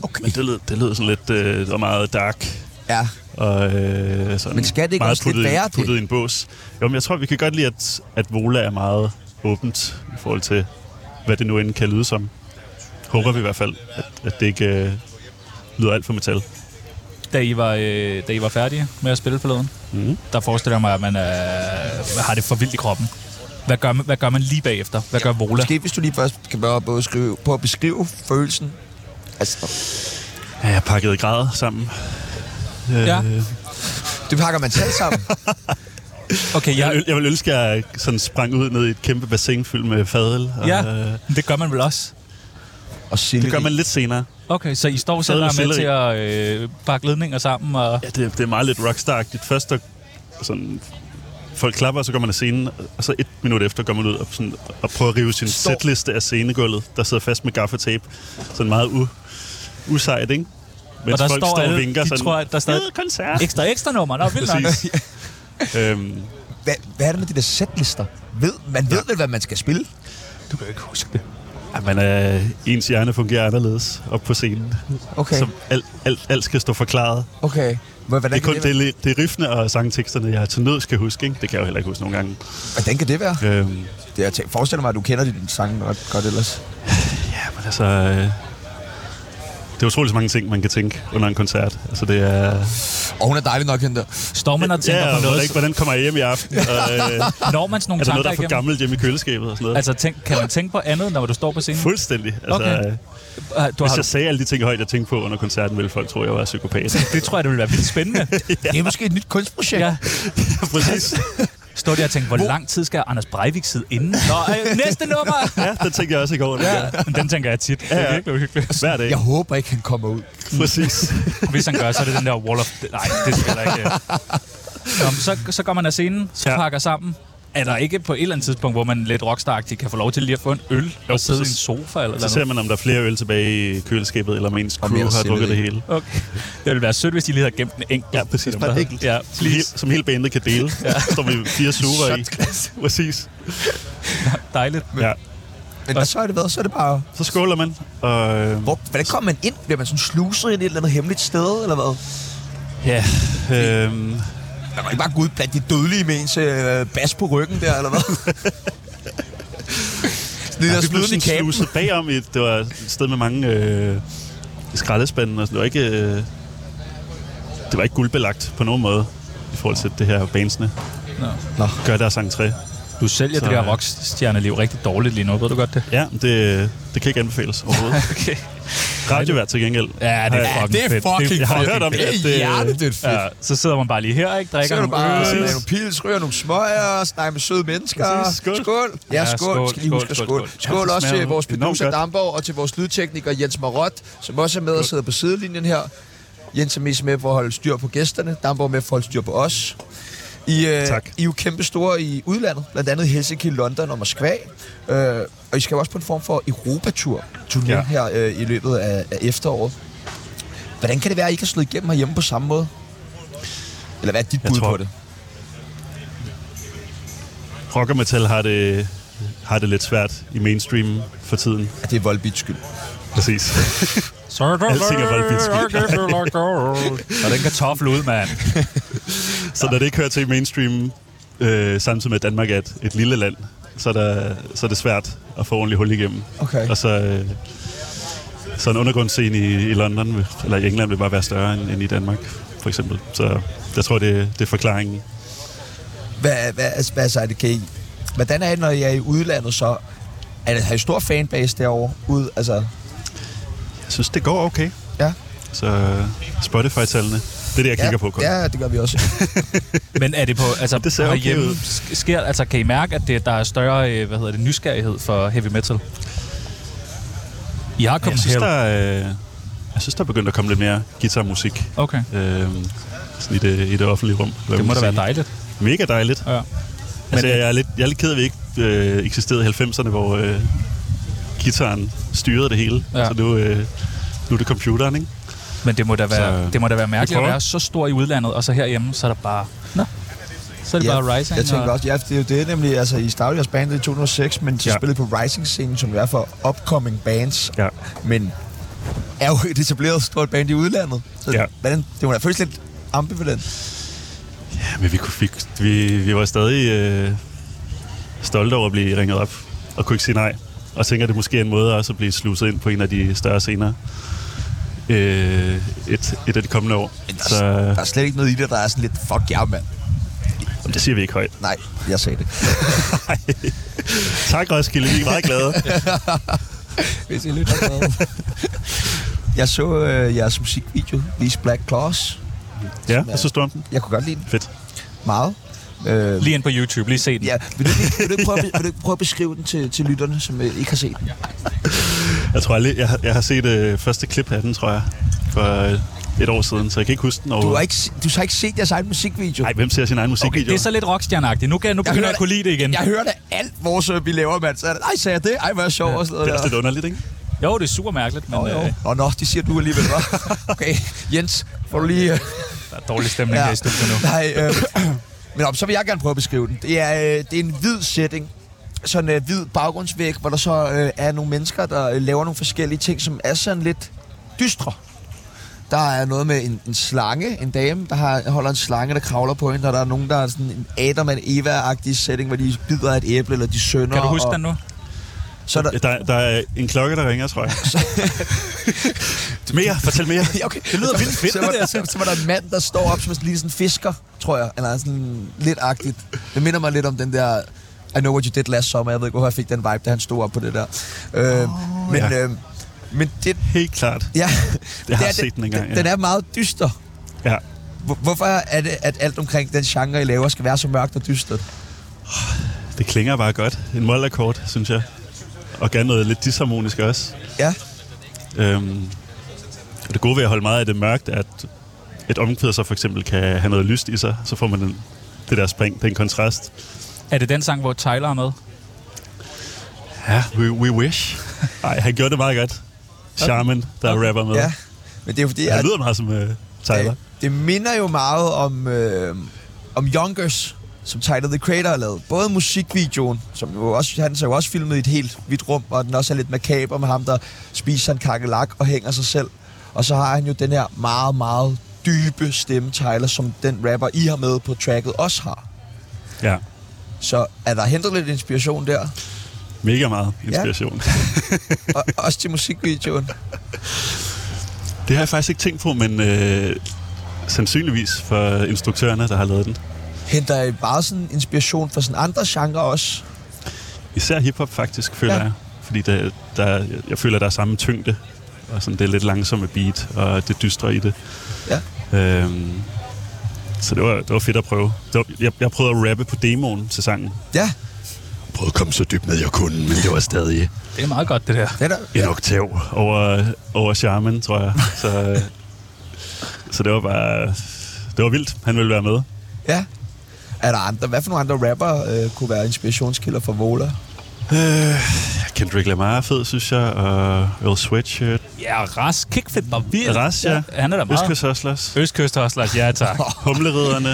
Speaker 1: okay.
Speaker 3: Men det lød, det lød sådan lidt øh, og meget dark.
Speaker 1: Ja,
Speaker 3: Og, øh, sådan
Speaker 1: Men skal det ikke
Speaker 3: meget
Speaker 1: også lidt
Speaker 3: puttet i-
Speaker 1: være det?
Speaker 3: puttet i en bås. Jo, men jeg tror, vi kan godt lide, at, at Vola er meget åbent i forhold til, hvad det nu end kan lyde som. Håber vi i hvert fald, at, at det ikke øh, lyder alt for metal.
Speaker 4: Da I, var, øh, da I var færdige med at spille forleden,
Speaker 3: Mhm.
Speaker 4: mm. der forestiller jeg mig, at man øh, har det for vildt i kroppen. Hvad gør, man, hvad gør man lige bagefter? Hvad gør vola?
Speaker 1: måske hvis du lige først kan bare både skrive, på at beskrive følelsen. Altså,
Speaker 3: Ja, jeg pakkede grader sammen. Øh,
Speaker 4: Ja.
Speaker 1: det pakker man selv sammen.
Speaker 3: Jeg,
Speaker 4: Okay, jeg,
Speaker 3: vil, jeg vil ønske, at jeg sådan sprang ud ned i et kæmpe bassin fyldt med fadel. Og,
Speaker 4: ja,
Speaker 3: øh,
Speaker 4: men det gør man vel også.
Speaker 1: Og silleri.
Speaker 3: det gør man lidt senere.
Speaker 4: Okay, så I står selv
Speaker 3: Stadig
Speaker 4: og er med til
Speaker 3: selleri.
Speaker 4: at øh, pakke ledninger sammen, og
Speaker 3: Ja, det, det er meget lidt rockstar-agtigt. Først der, sådan, folk klapper, og så går man af scenen, og så et minut efter går man ud og, sådan, og prøver at rive sin
Speaker 1: Står-
Speaker 3: setliste af scenegulvet, der sidder fast med gaffatape. Sådan meget u, usejt, ikke? Mens
Speaker 4: der
Speaker 3: folk
Speaker 4: står
Speaker 3: står og
Speaker 4: alle-
Speaker 3: vinker
Speaker 4: de
Speaker 3: sådan,
Speaker 4: tror, at der stadig-
Speaker 3: "Fed koncert.
Speaker 4: ekstra ekstra nummer. Nå, vildt nok.
Speaker 3: Præcis. øhm,
Speaker 1: Hvad, hvad er det med de der setlister? Ved, man ved vel, hvad man skal spille?
Speaker 4: Du kan ikke huske det.
Speaker 3: at man er, øh, ens hjerne fungerer anderledes op på scenen.
Speaker 1: Okay.
Speaker 3: Så alt, alt, alt skal stå forklaret.
Speaker 1: Okay. Hvor- Hvordan,
Speaker 3: Det er kun
Speaker 1: kan det,
Speaker 3: det, det, det er riffene og sangteksterne, jeg til nød skal huske. Ikke? Det kan jeg jo heller ikke huske nogle gange.
Speaker 1: være? hvordan kan det være?
Speaker 3: Øhm,
Speaker 1: Det, jeg tæ- forestiller mig, at du kender din sang ret godt ellers.
Speaker 3: men altså, øh, det er utroligt så mange ting, man kan tænke under en koncert. Altså, det er...
Speaker 1: Og hun er dejlig nok, hende der.
Speaker 4: Står man og tænker
Speaker 3: ja,
Speaker 4: på
Speaker 3: og
Speaker 4: noget,
Speaker 3: hvordan, ikke, hvordan kommer jeg hjem i aften? Og, øh,
Speaker 4: når man sådan nogle
Speaker 3: er der noget,
Speaker 4: tanker
Speaker 3: der er for
Speaker 4: igennem?
Speaker 3: gammelt hjemme i køleskabet og sådan noget? Altså,
Speaker 4: Altså, tænk, kan man tænke på andet, når du står på scenen?
Speaker 3: Fuldstændig. Altså,
Speaker 4: Okay.
Speaker 3: okay.
Speaker 4: Ah, Du
Speaker 3: Hvis
Speaker 4: har,
Speaker 3: jeg sagde alle de ting højt, jeg tænkte på under koncerten, ville folk tro, jeg var psykopat.
Speaker 4: det tror jeg, det ville være vildt spændende.
Speaker 1: Det er måske et nyt kunstprojekt.
Speaker 4: ja.
Speaker 3: Præcis.
Speaker 4: Står der og tænker, hvor lang tid skal Anders Breivik sidde inden? Nå, øh, næste nummer!
Speaker 3: Ja, det tænkte jeg også i går. Ja.
Speaker 4: Ja, men den tænker jeg tit. Det
Speaker 3: ja.
Speaker 4: er virkelig uhyggeligt.
Speaker 3: Hver dag.
Speaker 1: Jeg håber ikke, han kommer ud.
Speaker 3: Præcis.
Speaker 4: Hvis han gør, så er det den der wall of... Nej, det skal jeg ikke. øh. Nå, men så, så går man af scenen, så
Speaker 3: Ja.
Speaker 4: ja. pakker sammen. Er der ikke på et eller andet tidspunkt, hvor man lidt rockstar kan få lov til lige at få en øl og sidde i en
Speaker 3: så-
Speaker 4: sofa eller
Speaker 3: Så ser
Speaker 4: noget?
Speaker 3: man, om der er flere øl tilbage i køleskabet, eller om ens crew
Speaker 1: mere
Speaker 3: har drukket det
Speaker 1: selleri.
Speaker 3: hele.
Speaker 4: Okay. Det ville være sødt, hvis de lige havde gemt en enkelt.
Speaker 3: Ja, præcis.
Speaker 4: Dem,
Speaker 3: Bare
Speaker 4: der-
Speaker 3: enkelt.
Speaker 4: Ja,
Speaker 3: Som, hele,
Speaker 4: please.
Speaker 3: som hele bandet kan dele. ja. Står vi fire sure i. Præcis.
Speaker 4: Dejligt.
Speaker 3: Ja.
Speaker 1: Men hvad så er det været? Så er det bare...
Speaker 3: Så skåler man, og øh,
Speaker 1: Hvor, hvordan kommer man ind? Bliver man sådan sluset ind i et eller andet hemmeligt sted, eller hvad?
Speaker 3: ja, øh,
Speaker 1: Man må ikke bare gå ud blandt de dødelige med ens øh, bas på ryggen der, eller hvad? Sådan det der
Speaker 3: vi blev
Speaker 1: sluden
Speaker 3: sådan
Speaker 1: i kæben.
Speaker 3: sluset bagom. I, det var et sted med mange øh, skraldespande, og sådan. det var ikke... Øh, det var ikke guldbelagt på nogen måde, i forhold til det her bandsene.
Speaker 1: Nå.
Speaker 3: Gør deres entré.
Speaker 4: Du sælger
Speaker 3: Så,
Speaker 4: så, det
Speaker 3: øh,
Speaker 4: der rockstjerneliv rigtig dårligt lige nu. Ved du godt det?
Speaker 3: Ja, det, det kan ikke anbefales overhovedet.
Speaker 4: Okay.
Speaker 3: Radiovært til gengæld.
Speaker 4: Ja, det er
Speaker 1: Ja,
Speaker 4: fucking
Speaker 1: det er
Speaker 4: fedt.
Speaker 1: fucking
Speaker 3: Jeg har
Speaker 1: fedt.
Speaker 3: hørt om det,
Speaker 1: Det er
Speaker 3: at øh, det-
Speaker 1: hjertedødt fedt.
Speaker 4: Ja, så sidder man bare lige her, ikke?
Speaker 1: Så
Speaker 4: Drikker
Speaker 1: kan du
Speaker 4: nogle
Speaker 1: bare
Speaker 4: øl.
Speaker 1: lave
Speaker 3: præcis.
Speaker 1: nogle pils, ryger nogle smøger, snakke med søde mennesker.
Speaker 3: Præcis. Skål.
Speaker 1: skål. Ja, skål. skål. Skal lige huske skål, skål. skål. skål
Speaker 3: Ja, det
Speaker 1: også til
Speaker 3: smager
Speaker 1: vores
Speaker 3: enormt
Speaker 1: producer
Speaker 3: godt.
Speaker 1: Damborg og til vores lydtekniker Jens Marot, som også er med og sidder på sidelinjen her. Jens er mest med for at holde styr på gæsterne. Damborg er med for at holde styr på os. I, øh,
Speaker 3: Tak.
Speaker 1: I er jo kæmpe store i udlandet, blandt andet Helsinki, London og Moskva. Øh, og I skal jo også på en form for Europatur turné ja.
Speaker 3: Ja.
Speaker 1: her øh, i løbet af, af efteråret. Hvordan kan det være, at I ikke har slået igennem herhjemme på samme måde? Eller hvad er dit
Speaker 3: Jeg
Speaker 1: bud
Speaker 3: tror-
Speaker 1: på det?
Speaker 3: Rock og metal har det, har det lidt svært i mainstream for tiden.
Speaker 1: At det er Volbeats skyld.
Speaker 3: Præcis. Alting er voldeligt
Speaker 4: skidt. Og den kartoffel ud, mand.
Speaker 3: så når det ikke hører til i mainstream, øh, samtidig med at Danmark er et, et lille land, så er, der, så er det svært at få ordentligt hul igennem.
Speaker 1: Okay.
Speaker 3: Og så, øh, så en undergrundsscene i, i London, vil- eller i England, vil bare være større end, end i Danmark, for eksempel. Så jeg tror, det, det er forklaringen.
Speaker 1: Hvad, hvad, altså, hvad så er det, kan I, hvordan er det, når I er i udlandet så? Er det, har I stor fanbase derovre? Ud, altså,
Speaker 3: Jeg synes, det går okay.
Speaker 1: ja.
Speaker 3: Så øh, Spotify-tallene, det er det, jeg kigger
Speaker 1: ja,
Speaker 3: på kun.
Speaker 1: Ja, det gør vi også.
Speaker 4: Men er det på, altså,
Speaker 3: Det ser okay
Speaker 4: herhjemme
Speaker 3: ud.
Speaker 4: sk- sker, altså, kan I mærke, at det, der er større, øh, hvad hedder det, nysgerrighed for heavy metal? I har
Speaker 3: jeg
Speaker 4: kommet
Speaker 3: synes,
Speaker 4: her.
Speaker 3: der, øh, jeg synes, der er begyndt at komme lidt mere guitarmusik
Speaker 4: Okay.
Speaker 3: øh, sådan i, det, i det offentlige rum. hvad
Speaker 4: Det
Speaker 3: man
Speaker 4: må da
Speaker 3: kan
Speaker 4: være
Speaker 3: sige.
Speaker 4: dejligt.
Speaker 3: Mega dejligt.
Speaker 4: Ja.
Speaker 3: Altså, jeg, er lidt, jeg er lidt ked af, at vi ikke øh, eksisterede i 90'erne, hvor øh, gitaren styrede det hele.
Speaker 4: Ja.
Speaker 3: Ja. Så nu, øh, nu er det computeren, ikke?
Speaker 4: Men det må da være,
Speaker 3: Så-
Speaker 4: det må da være mærkeligt at
Speaker 3: prøver.
Speaker 4: være så stor i udlandet, og så herhjemme, så er der bare... Nå. Så er det bare Rising.
Speaker 1: Jeg tænker
Speaker 4: og-
Speaker 1: også, ja, det er jo det nemlig, altså I startede jeres band i 2006, men så ja.
Speaker 3: Ja.
Speaker 1: spillede I på Rising-scenen, som jo er for upcoming bands,
Speaker 3: Ja.
Speaker 1: men er jo et etableret stort band i udlandet. Så ja.
Speaker 3: Ja.
Speaker 1: hvordan, det må da føles lidt ambivalent.
Speaker 3: ja men vi, kunne, vi, vi, vi var stadig øh, stolte over at blive ringet op, og kunne ikke sige nej. Og tænker, det måske er en måde også at blive sluset ind på en af de større scener øh, et, et af de kommende år.
Speaker 1: Men altså, der, er,
Speaker 3: Så øh,
Speaker 1: der er slet ikke noget i det, der er sådan lidt, fuck jer, mand.
Speaker 3: jamen, det siger vi ikke højt.
Speaker 1: Nej, jeg sagde det.
Speaker 3: Tak, Roskilde. Vi er meget glade.
Speaker 1: Hvis I lytter med. Jeg så øh, jeres musikvideo, These Black Claws.
Speaker 3: ja, jeg synes du om den?
Speaker 1: Jeg kunne godt lide den
Speaker 3: Fedt.
Speaker 1: meget. Øh,
Speaker 4: Lige ind på YouTube, lige se den.
Speaker 1: ja, vil du, ikke- vil, du ikke prøve, vil du ikke prøve at beskrive den til, til lytterne, som øh, ikke har set den?
Speaker 3: Jeg tror aldrig, jeg, har- jeg har set øh, første klip af den, tror jeg, for øh, et år siden, så jeg kan ikke huske den
Speaker 1: Du har
Speaker 3: overhovedet.
Speaker 1: ikke, se- du har ikke set jeres egen musikvideo.
Speaker 3: Nej, hvem ser sin egen
Speaker 4: Okay,
Speaker 3: musikvideo?
Speaker 4: det er så lidt rockstjerneagtigt. Nu, kan, nu begynder jeg at kunne lide det igen.
Speaker 1: Jeg hører da alt vores øh, vi laver, mand. Så er det, ej, sagde jeg det? Ej, hvor er jeg sjov. Ja, og sådan
Speaker 3: det
Speaker 1: noget
Speaker 3: er også
Speaker 1: der.
Speaker 3: lidt underligt, ikke?
Speaker 4: Jo, det er super mærkeligt, men
Speaker 1: Nå, jo.
Speaker 4: øh,
Speaker 1: Nå, nå, de siger du alligevel, hva'? Okay, Jens, får du lige... øh,
Speaker 4: der er dårlig stemning ja. her i studiet nu.
Speaker 1: Nej, øh, men om, så vil jeg gerne prøve at beskrive den. Det er, øh, det er en hvid setting. Sådan en øh, hvid baggrundsvæg, hvor der så øh, er nogle mennesker, der øh, laver nogle forskellige ting, som er sådan lidt dystre. Der er noget med en, en slange, en dame, der har, holder en slange, der kravler på hende, og der er nogen, der er sådan en Adam og en Eva-agtig setting, hvor de bider af et æble, eller de sønder.
Speaker 4: Kan du huske
Speaker 1: og,
Speaker 4: den nu?
Speaker 1: Så er der,
Speaker 3: Der, der er en klokke, der ringer, tror jeg. mere, fortæl mere.
Speaker 1: Ja, okay.
Speaker 4: Det lyder vildt fedt,
Speaker 1: så, var,
Speaker 4: det der.
Speaker 1: så, så var der en mand, der står op som sådan, lige sådan en fisker, tror jeg. Eller sådan lidt agtigt. Det minder mig lidt om den der... I know what you did last summer. Jeg ved ikke, hvorfor jeg fik den vibe, da han stod op på det der. Øh, oh, men,
Speaker 3: ja.
Speaker 1: øh, men det...
Speaker 3: Helt klart.
Speaker 1: Ja,
Speaker 3: Jeg har
Speaker 1: det er-
Speaker 3: set den engang,
Speaker 1: Den,
Speaker 3: ja.
Speaker 1: den er meget dyster.
Speaker 3: Ja.
Speaker 1: Hvor- Hvorfor er det, at alt omkring den genre, I laver, skal være så mørkt og dystert?
Speaker 3: Det klinger bare godt. En mollakkord, synes jeg. Og gerne noget lidt disharmonisk også.
Speaker 1: Ja,
Speaker 3: Øhm, og det gode ved at holde meget af det mørkt, er, at et omkvæd så for eksempel kan have noget lyst i sig, så får man den, det der spring, den kontrast.
Speaker 4: Er det den sang, hvor Tyler er med?
Speaker 3: Ja, we, we wish. Nej, han gjorde det meget godt. Charmen, der er rapper med.
Speaker 1: ja. Men det er jo fordi,
Speaker 3: Han
Speaker 1: at...
Speaker 3: lyder meget som uh, Tyler.
Speaker 1: Øh, Det minder jo meget om, øh, om Youngers, som Tyler the Creator har lavet. Både musikvideoen, som jo også, han så jo også filmet i et helt hvidt rum, og den også er lidt makaber med ham, der spiser en kakkelak og hænger sig selv. Og så har han jo den her meget, meget dybe stemme, Tyler, som den rapper, I har med på tracket, også har.
Speaker 3: Ja,
Speaker 1: Så er der hentet lidt inspiration der,
Speaker 3: mega meget inspiration. Ja.
Speaker 1: og også til musikvideoen.
Speaker 3: Det har jeg faktisk ikke tænkt på, men øh, sandsynligvis for instruktørerne, der har lavet den.
Speaker 1: Henter I bare sådan inspiration fra sådan andre genrer også?
Speaker 3: Især hiphop faktisk, føler
Speaker 1: Ja.
Speaker 3: ja. jeg. Fordi der, der, jeg føler, der er samme tyngde. Og sådan, det er lidt langsomme beat, og det dystre i det.
Speaker 1: Ja.
Speaker 3: Øhm, så det var, det var fedt at prøve. Det var, jeg, jeg prøvede at rappe på demoen til sangen.
Speaker 1: Ja,
Speaker 3: Jeg prøvede at komme så dybt ned, jeg kunne, men det var stadig
Speaker 4: Det er meget godt, det der.
Speaker 1: det er der.
Speaker 3: en oktav over, over charmen, tror jeg. Så, øh, så det var bare... Det var vildt, han ville være med.
Speaker 1: Ja. Er der andre? Hvad for nogle andre rapper øh, kunne være inspirationskilder for Vola?
Speaker 3: Øh, Kendrick Lamar er fed, synes jeg, og øh, Earl Sweatshirt.
Speaker 4: Ja, Ras Kickflip var vildt.
Speaker 3: Ras, ja.
Speaker 4: Han er da meget.
Speaker 3: Østkyst Hustlers.
Speaker 4: Østkyst også, Lars. Ja, tak.
Speaker 3: Humleriderne.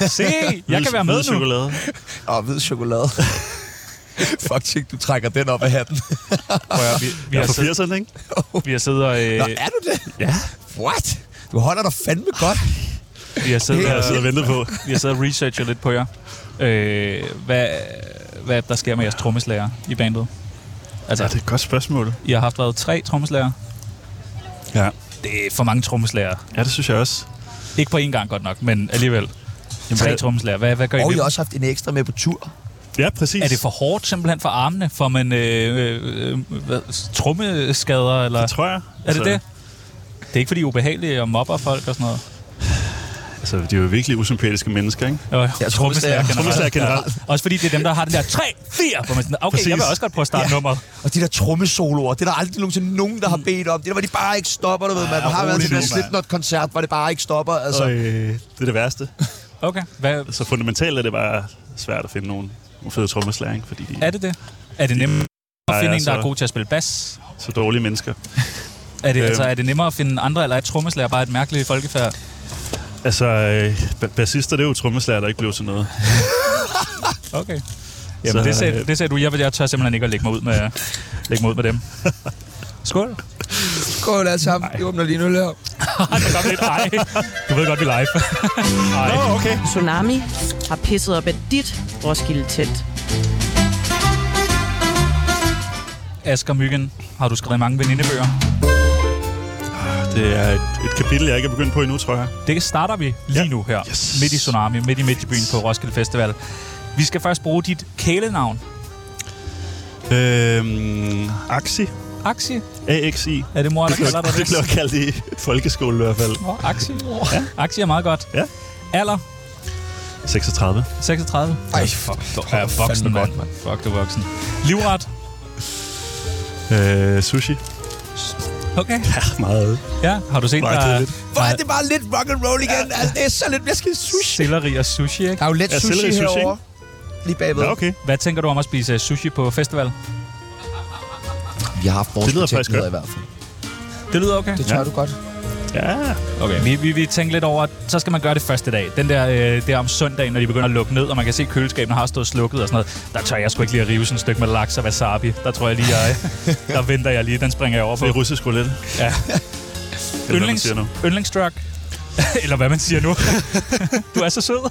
Speaker 4: Ja. Se, jeg kan være med nu.
Speaker 3: Chokolade.
Speaker 1: Åh, hvid chokolade. Fuck, chick, du trækker den op af hatten.
Speaker 4: Prøv at høre, vi, vi,
Speaker 3: Ja,
Speaker 4: har
Speaker 3: for
Speaker 4: siddet,
Speaker 3: 80'erne, ikke?
Speaker 4: vi har siddet og... Øh,
Speaker 1: Nå, er du det?
Speaker 4: ja,
Speaker 1: What? Du holder dig fandme godt.
Speaker 3: Ah,
Speaker 4: vi har siddet
Speaker 1: Det
Speaker 3: Det har
Speaker 1: er altså-
Speaker 3: jeg
Speaker 4: og,
Speaker 3: siddet og ventet på.
Speaker 4: vi har siddet og researchet lidt på jer. Øh, hvad, hvad der sker med jeres trommeslager i bandet? Altså,
Speaker 3: Ja, det er et godt spørgsmål.
Speaker 4: I har haft været tre trommeslager.
Speaker 3: Ja.
Speaker 4: Det er for mange trommeslager.
Speaker 3: Ja, det synes jeg også.
Speaker 4: Ikke på én gang godt nok, men alligevel. Jamen, tre
Speaker 3: hvad-
Speaker 4: trommeslager. Hvad, hvad gør I
Speaker 1: Og
Speaker 4: med
Speaker 1: I har
Speaker 4: dem?
Speaker 1: også haft en ekstra med på tur.
Speaker 3: Ja, præcis.
Speaker 4: Er det for hårdt simpelthen for armene? Får man øh, øh, øh, hvad, trommeskader? Eller?
Speaker 3: Det tror jeg.
Speaker 4: er det
Speaker 3: Altså,
Speaker 4: det? Det er ikke fordi, I er ubehagelige og mobber folk og sådan noget.
Speaker 3: Altså, de er jo virkelig usympatiske mennesker, ikke?
Speaker 4: Jo, jo.
Speaker 1: Ja, trommeslager.
Speaker 4: Trommeslager generelt.
Speaker 3: Trommeslager generelt.
Speaker 4: Også fordi det er dem, der har den der 3, 4, hvor man sådan, okay, Præcis.
Speaker 3: Præcis.
Speaker 4: jeg vil også godt prøve at starte ja. nummeret.
Speaker 1: Og de der trommesoloer, det er der aldrig nogensinde nogen, der har bedt om. Det er der, hvor de bare ikke stopper, du ved, man. Der har
Speaker 3: Ah, rolig
Speaker 1: været til
Speaker 3: nu,
Speaker 1: den
Speaker 3: mand.
Speaker 1: Slipknot-koncert, hvor det bare ikke stopper. Altså.
Speaker 3: Så øh, det er det værste.
Speaker 4: Okay, hvad,
Speaker 3: Så fundamentalt er det bare svært at finde nogen nogle fede trommeslager, ikke? fordi de
Speaker 4: er
Speaker 3: er
Speaker 4: det det? Er det nemmere at
Speaker 3: Nej,
Speaker 4: finde en,
Speaker 3: altså-
Speaker 4: der er god til at spille bas?
Speaker 3: så dårlige mennesker.
Speaker 4: Er det,
Speaker 3: Øhm.
Speaker 4: altså, er det nemmere at finde andre, eller er et trommeslager bare et mærkeligt folkefærd?
Speaker 3: Altså, øh, ba- bassister, det er jo trommeslager, der ikke blev til noget.
Speaker 4: Okay. Jamen,
Speaker 3: Så,
Speaker 4: det, sagde,
Speaker 3: øh,
Speaker 4: det sagde du. Jeg, jeg tør simpelthen ikke at lægge mig ud med, lægge mig ud med dem. Skål.
Speaker 1: Skål alle sammen. Jeg åbner lige nu her.
Speaker 4: Ej, det kom lidt. Ej. Du ved godt, vi er live. Ej.
Speaker 3: Åh, oh, okay.
Speaker 5: Tsunami har pisset op af dit Roskilde-telt.
Speaker 4: Asger Myggen, har du skrevet mange venindebøger?
Speaker 3: Det er et, et kapitel, jeg ikke er begyndt på endnu, tror jeg.
Speaker 4: Det starter vi lige
Speaker 3: Ja.
Speaker 4: nu her, yes.
Speaker 3: Yes.
Speaker 4: midt i Tsunami, midt i Midtjybyen på Roskilde Festival. Vi skal først bruge dit kælenavn.
Speaker 3: Øhm, Axi.
Speaker 4: Axi?
Speaker 3: AXI.
Speaker 4: Er det mor, der
Speaker 3: Det blev,
Speaker 4: kalder dig
Speaker 3: det blev jeg kaldt i folkeskolen i hvert fald.
Speaker 4: Nå, Axi. Ja. Axi er meget godt.
Speaker 3: Ja.
Speaker 4: Alder?
Speaker 3: 36.
Speaker 4: 36.
Speaker 1: Ej, fuck.
Speaker 4: Du er voksen,
Speaker 1: Fandme
Speaker 4: mand.
Speaker 1: godt, mand.
Speaker 4: Fuck, du er voksen. Livret?
Speaker 3: Øh, sushi.
Speaker 4: Okay.
Speaker 3: Ja, meget.
Speaker 4: Ja, har du set,
Speaker 3: Meget
Speaker 4: der er
Speaker 3: kedeligt.
Speaker 1: Hvor er det bare lidt rock and roll igen? Altså, det er så lidt. Jeg skal sushi.
Speaker 4: selleri og sushi, ikke?
Speaker 1: Der er jo let
Speaker 3: Ja,
Speaker 1: sushi,
Speaker 3: selleri sushi,
Speaker 1: herovre. Lige bagved.
Speaker 3: Nå, okay.
Speaker 4: Hvad tænker du om at spise øh, sushi på festival?
Speaker 1: Vi har haft vores
Speaker 3: Det lyder faktisk
Speaker 1: projektleder i hvert fald.
Speaker 4: Det lyder okay.
Speaker 1: Det tør
Speaker 3: Ja.
Speaker 1: du godt.
Speaker 3: Ja.
Speaker 4: Okay, vi, vi, vi tænker lidt over, at så skal man gøre det første dag. Den der, øh, der om søndagen, når de begynder at lukke ned, og man kan se, at køleskabene har stået slukket og sådan noget. Der tør jeg sgu ikke lige at rive sådan et stykke med laks og wasabi. Der tror jeg lige, jeg, der venter jeg lige. Den springer jeg over på.
Speaker 3: Det er russisk roulette.
Speaker 4: Ja.
Speaker 3: Eller hvad man siger nu.
Speaker 4: yndlingsdrug. Eller hvad man siger nu. du er så sød.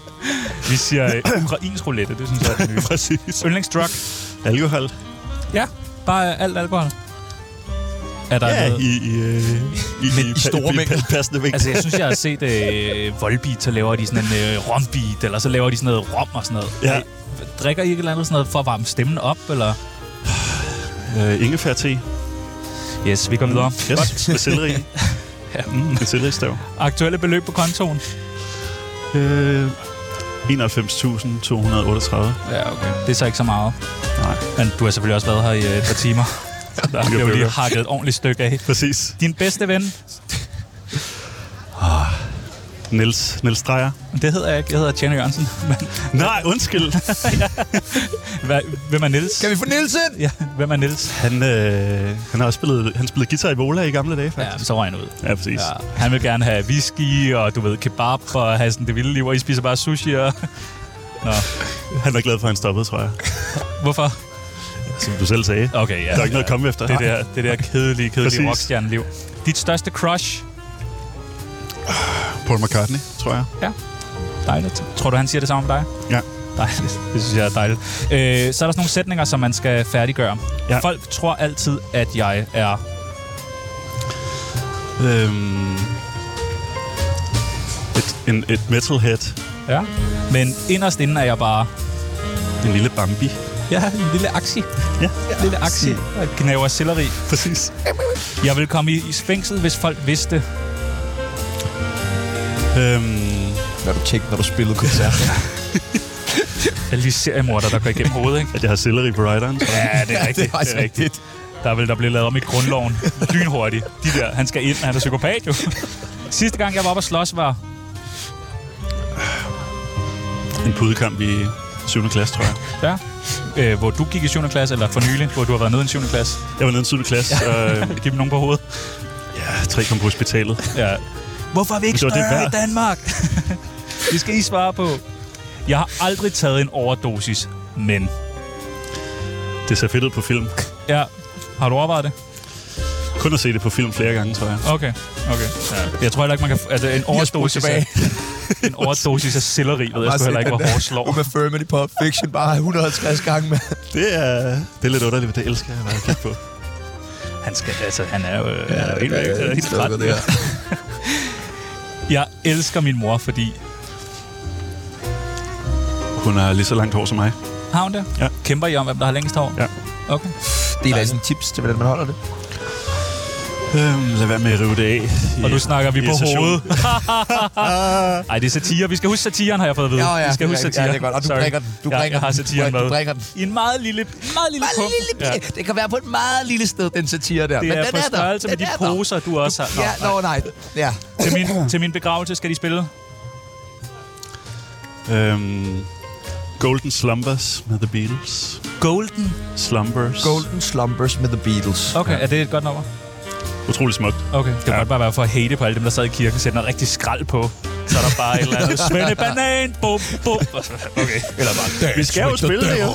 Speaker 4: vi siger øh, ukrainsk roulette, det synes jeg er det nye.
Speaker 3: Præcis.
Speaker 4: yndlingsdrug.
Speaker 3: Alkohol.
Speaker 4: Ja, bare øh, alt alkohol. Er der
Speaker 3: Ja,
Speaker 4: noget?
Speaker 3: i, i, øh, i,
Speaker 1: Men i store
Speaker 3: pa-
Speaker 1: mængder.
Speaker 3: pa- Passende mængder.
Speaker 4: Altså, jeg synes, jeg har set øh, Volbeat, så laver de sådan en øh, rombeat, eller så laver de sådan noget rom og sådan noget. Øh,
Speaker 3: Ja.
Speaker 4: Drikker I ikke et eller andet sådan noget for at varme stemmen op, eller?
Speaker 3: Øh, ingefær-te. Mm.
Speaker 4: Yes, vi går videre.
Speaker 3: Yes, med selleri. ja. Mm, med selleristav.
Speaker 4: Aktuelle beløb på kontoen?
Speaker 3: Øh, 91.238.
Speaker 4: Ja, okay. Det er så ikke så meget.
Speaker 3: Nej.
Speaker 4: Men du har selvfølgelig også været her i øh, et par timer. Så der bliver jo lige
Speaker 3: bøvler.
Speaker 4: hakket et ordentligt stykke af.
Speaker 3: Præcis.
Speaker 4: Din bedste ven,
Speaker 3: Niels, Niels Dreyer.
Speaker 4: det hedder jeg ikke, jeg hedder Tjerno Jørgensen. Men,
Speaker 3: Nej, undskyld.
Speaker 4: hvad, hvem er Niels?
Speaker 1: Kan vi få Nielsen?
Speaker 4: Ja, hvem er Niels?
Speaker 3: Han, øh, han har også spillet, han spillede guitar i Vola i gamle dage,
Speaker 4: Ja,
Speaker 3: faktisk.
Speaker 4: så røg han ud.
Speaker 3: Ja, ja præcis. Ja.
Speaker 4: Ja, han vil gerne have whisky og du ved, kebab og have sådan det vilde liv, og I spiser bare sushi og... Nå,
Speaker 3: Han er glad for, at han stoppede, tror jeg.
Speaker 4: hvorfor?
Speaker 3: Som du selv sagde.
Speaker 4: Okay, ja.
Speaker 3: Der er ikke noget at komme efter.
Speaker 4: Det der, det der kedelige, kedelige
Speaker 3: Præcis.
Speaker 4: rockstjerneliv. Dit største crush?
Speaker 3: Ah. Paul McCartney, tror jeg.
Speaker 4: Dejligt. Tror du, han siger det samme om dig?
Speaker 3: Ja.
Speaker 4: Dejligt. Det synes jeg er dejligt. Øh, så er der sådan nogle sætninger, som man skal færdiggøre. Ja.
Speaker 3: Ja.
Speaker 4: Folk tror altid, at jeg er...
Speaker 3: Øhm, et, en, et metalhead.
Speaker 4: Ja. Men inderst inden er jeg bare...
Speaker 3: En lille Bambi.
Speaker 4: Ja, en lille aksi.
Speaker 3: Ja,
Speaker 4: Lille aksi. Og knæver selleri.
Speaker 3: præcis.
Speaker 4: Jeg vil komme i, i fængsel, hvis folk vidste.
Speaker 3: Øhm,
Speaker 1: Når du tænkte, når du spillede koncert.
Speaker 4: Jeg lige seriemorder, der går igennem hovedet, ikke?
Speaker 3: at jeg har selleri på rideren, tror jeg.
Speaker 4: Ja, det er rigtigt. det er rigtigt. Der vil der blive lavet om i grundloven lynhurtigt. De der, han skal ind, han er psykopat jo. Sidste gang, jeg var oppe at slås, var
Speaker 3: en pudekamp i 7. klasse, tror jeg.
Speaker 4: Ja. Øh, hvor du gik i 7. klasse, eller for nylig, hvor du har været nede i en 7. klasse.
Speaker 3: Jeg var nede i 7. klasse, og øh,
Speaker 4: Giv dem nogen på hovedet.
Speaker 3: ja, tre kom på hospitalet.
Speaker 4: Ja. Hvorfor er vi ikke
Speaker 3: Det var det
Speaker 4: større i
Speaker 3: værd.
Speaker 4: Danmark? det skal I svare på. Jeg har aldrig taget en overdosis, men...
Speaker 3: Det ser fedt ud på film.
Speaker 4: Ja, har du overvejet det?
Speaker 3: Kun at se det på film flere gange, tror jeg.
Speaker 4: Okay, okay. Ja. Jeg tror heller ikke, man kan... Altså, en overdosis af,
Speaker 1: tilbage.
Speaker 4: en overdosis af selleri, ved jeg sgu heller ikke, hvor hårdt slår.
Speaker 1: Uma Thurman i Pulp Fiction bare 150 gange med.
Speaker 3: Det er, det er lidt underligt, men det elsker jeg meget at kigge på.
Speaker 4: Han, skal, altså, han er jo øh, han er jo helt,
Speaker 1: Ja,
Speaker 4: øh, helt træt.
Speaker 1: det her.
Speaker 4: Jeg elsker min mor, fordi...
Speaker 3: Hun har lige så langt hår som mig.
Speaker 4: Har hun det?
Speaker 3: Ja.
Speaker 4: Kæmper I om, hvem der har længst hår?
Speaker 3: Ja.
Speaker 4: Okay.
Speaker 1: Det er da sådan tips til, hvordan man holder det.
Speaker 3: Øhm, lad være med at rive det af.
Speaker 4: Og nu
Speaker 3: I-
Speaker 4: snakker vi
Speaker 3: i
Speaker 4: på
Speaker 3: sessionen.
Speaker 4: hovedet. Ej, det er satire. Vi skal huske satiren, har jeg fået at vide.
Speaker 1: Ja, ja,
Speaker 4: vi skal
Speaker 1: det er
Speaker 4: huske
Speaker 1: rigtigt.
Speaker 4: satiren.
Speaker 1: Ja, det er godt. Og du
Speaker 4: Sorry.
Speaker 1: bringer den. Du
Speaker 4: ja,
Speaker 1: bringer
Speaker 4: jeg har
Speaker 1: den. Du
Speaker 4: satiren
Speaker 1: bringer- du
Speaker 4: med.
Speaker 1: bringer den.
Speaker 4: I en meget lille, meget lille
Speaker 1: Bare en
Speaker 4: punkt.
Speaker 1: lille bitte. Ja. Det kan være på et meget lille sted, den satire der.
Speaker 4: Det
Speaker 1: men
Speaker 4: er
Speaker 1: den
Speaker 4: på
Speaker 1: er der.
Speaker 4: størrelse med
Speaker 1: Den
Speaker 4: de
Speaker 1: er der.
Speaker 4: poser, du også har. Nå,
Speaker 1: Ja,
Speaker 4: nej.
Speaker 1: nå, nej. Ja.
Speaker 4: til, min, til min begravelse skal de spille.
Speaker 3: Øhm, Golden Slumbers med The Beatles.
Speaker 4: Golden.
Speaker 3: Slumbers.
Speaker 1: Golden Slumbers med The Beatles.
Speaker 4: Okay, er det et godt nummer?
Speaker 3: Utrolig smukt.
Speaker 4: Okay. Det kan
Speaker 3: Ja.
Speaker 4: godt bare være for at hate på alle dem, der sad i kirken, sætte noget rigtig skrald på. Så er der bare et eller andet Svende Banan, bum, bum. Okay, eller bare,
Speaker 3: Vi skal jo spille det, jo.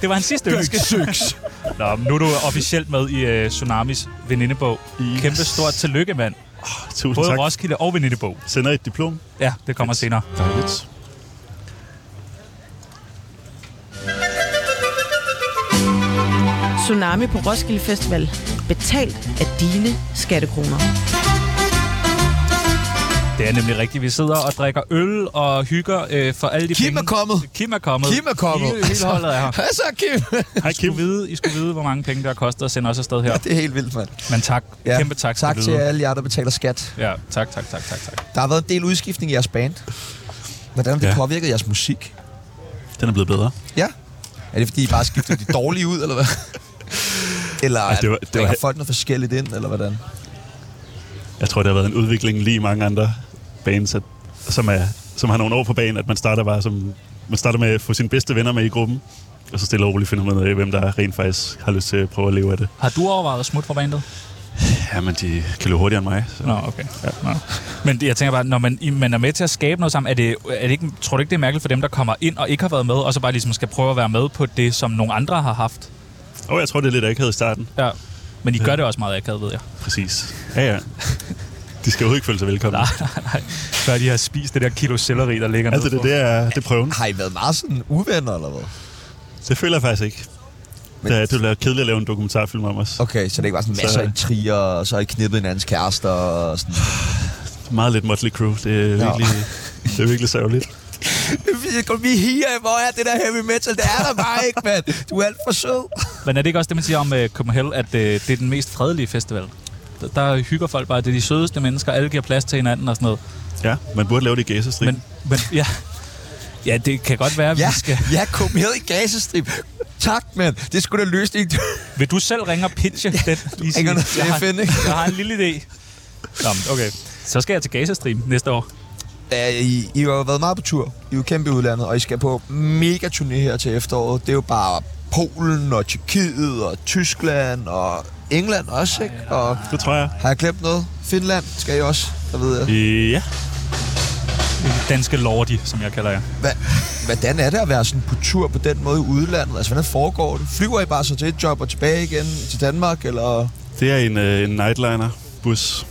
Speaker 4: Det var hans sidste ønske.
Speaker 1: Six.
Speaker 4: Nå, men nu er du officielt med i øh, Tsunamis venindebog.
Speaker 3: Yes.
Speaker 4: Kæmpe stort tillykke, mand.
Speaker 3: Tusind
Speaker 4: Både
Speaker 3: tak.
Speaker 4: Roskilde og venindebog.
Speaker 3: Sender et diplom.
Speaker 4: Ja, det kommer senere.
Speaker 3: Dejligt.
Speaker 5: Tsunami på Roskilde Festival. Betalt af dine skattekroner.
Speaker 4: Det er nemlig rigtigt. Vi sidder og drikker øl og hygger øh, for alle de
Speaker 1: Kim
Speaker 4: penge.
Speaker 1: er kommet.
Speaker 4: Kim er kommet.
Speaker 1: Kim er kommet.
Speaker 4: Hele, hele holdet er her.
Speaker 1: Hvad så, Kim?
Speaker 3: Hej
Speaker 4: I
Speaker 3: Kim.
Speaker 4: skulle, vide, I skulle vide, hvor mange penge, der har kostet at sende os afsted her.
Speaker 1: det er helt vildt, mand.
Speaker 4: Men tak. Ja. Kæmpe tak.
Speaker 1: Tak
Speaker 4: skal du
Speaker 1: til
Speaker 4: vide.
Speaker 1: alle jer, der betaler skat.
Speaker 4: Ja, tak, tak, tak, tak, tak.
Speaker 1: Der har været en del udskiftning i jeres band. Hvordan har det
Speaker 3: Ja.
Speaker 1: påvirket jeres musik?
Speaker 3: Den er blevet bedre.
Speaker 1: Ja. Er det, fordi I bare skifter de dårlige ud, eller hvad? Eller
Speaker 3: Ej,
Speaker 1: Altså, det var, det var...
Speaker 3: he-
Speaker 1: har folk noget forskelligt ind, eller hvordan?
Speaker 3: Jeg tror, det har været en udvikling lige mange andre bands, at, som, er, som har nogle år på banen, at man starter bare som... Man starter med at få sine bedste venner med i gruppen, og så stille og roligt finder man ud af, hvem der rent faktisk har lyst til at prøve at leve af det.
Speaker 4: Har du overvejet at smutte fra bandet?
Speaker 3: Ja, men de kan løbe hurtigere end mig. Så.
Speaker 4: Nå, okay. Ja. Nå. Men jeg tænker bare, når man, I- man er med til at skabe noget sammen, er det, er det ikke, tror du ikke, det er mærkeligt for dem, der kommer ind og ikke har været med, og så bare ligesom skal prøve at være med på det, som nogle andre har haft?
Speaker 3: Og jeg tror, det er lidt akavet i starten.
Speaker 4: Ja. Men I gør det også meget akavet, ved jeg.
Speaker 3: Præcis. Ja, ja. De skal jo ikke føle sig velkomne.
Speaker 4: Nej, før de har spist det der kilo selleri, der ligger
Speaker 3: Altså, det, det, er, det er prøven.
Speaker 1: Har I været meget sådan uvenner, eller hvad?
Speaker 3: Det føler jeg faktisk ikke. Men...
Speaker 1: Men-
Speaker 3: Det, er, det ville være kedeligt at lave en dokumentarfilm om os. Okay.
Speaker 1: Okay, så det er ikke bare sådan masser af
Speaker 3: Så-
Speaker 1: intriger, og så har I knippet hinandens kærester og sådan.
Speaker 3: Meget lidt Motley Crue. Det er virkelig, det er virkelig sørgeligt.
Speaker 1: Vi higer, hvor er det der heavy metal? Det er der bare ikke, mand. Du er alt for sød.
Speaker 4: Men er det ikke også det, man siger om uh, Copenhagen, at uh, det er den mest fredelige festival? Der, der hygger folk bare, det er de sødeste mennesker, alle giver plads til hinanden og sådan noget.
Speaker 3: Ja, man burde lave det i Gaza-strip.
Speaker 4: Men, men ja, ja, det kan godt være, at
Speaker 1: Ja,
Speaker 4: vi skal...
Speaker 1: ja, kom med i gasestrip. Tak, mand. Det skulle da løse ikke.
Speaker 4: Vil du selv ringe og pitche den? Lige sige,
Speaker 1: ringer ned til
Speaker 4: jeg, har,
Speaker 1: FN, ikke?"
Speaker 4: jeg har en lille idé. Nå, men okay. Så skal jeg til Gaza-stream næste år.
Speaker 1: Ja, I, I har jo været meget på tur. I er jo kæmpe i udlandet, og I skal på mega turné her til efteråret. Det er jo bare Polen og Tjekkiet og Tyskland og England også, ikke? Og
Speaker 3: Det tror jeg.
Speaker 1: har jeg glemt noget? Finland skal I også, der ved jeg.
Speaker 3: Ja.
Speaker 4: Danske Lordi, som jeg kalder jer.
Speaker 1: Hva, hvordan er det at være sådan på tur på den måde i udlandet? Altså, hvordan foregår det? Flyver I bare så til et job og tilbage igen til Danmark, eller...
Speaker 3: Det er en, øh, en nightliner-bus.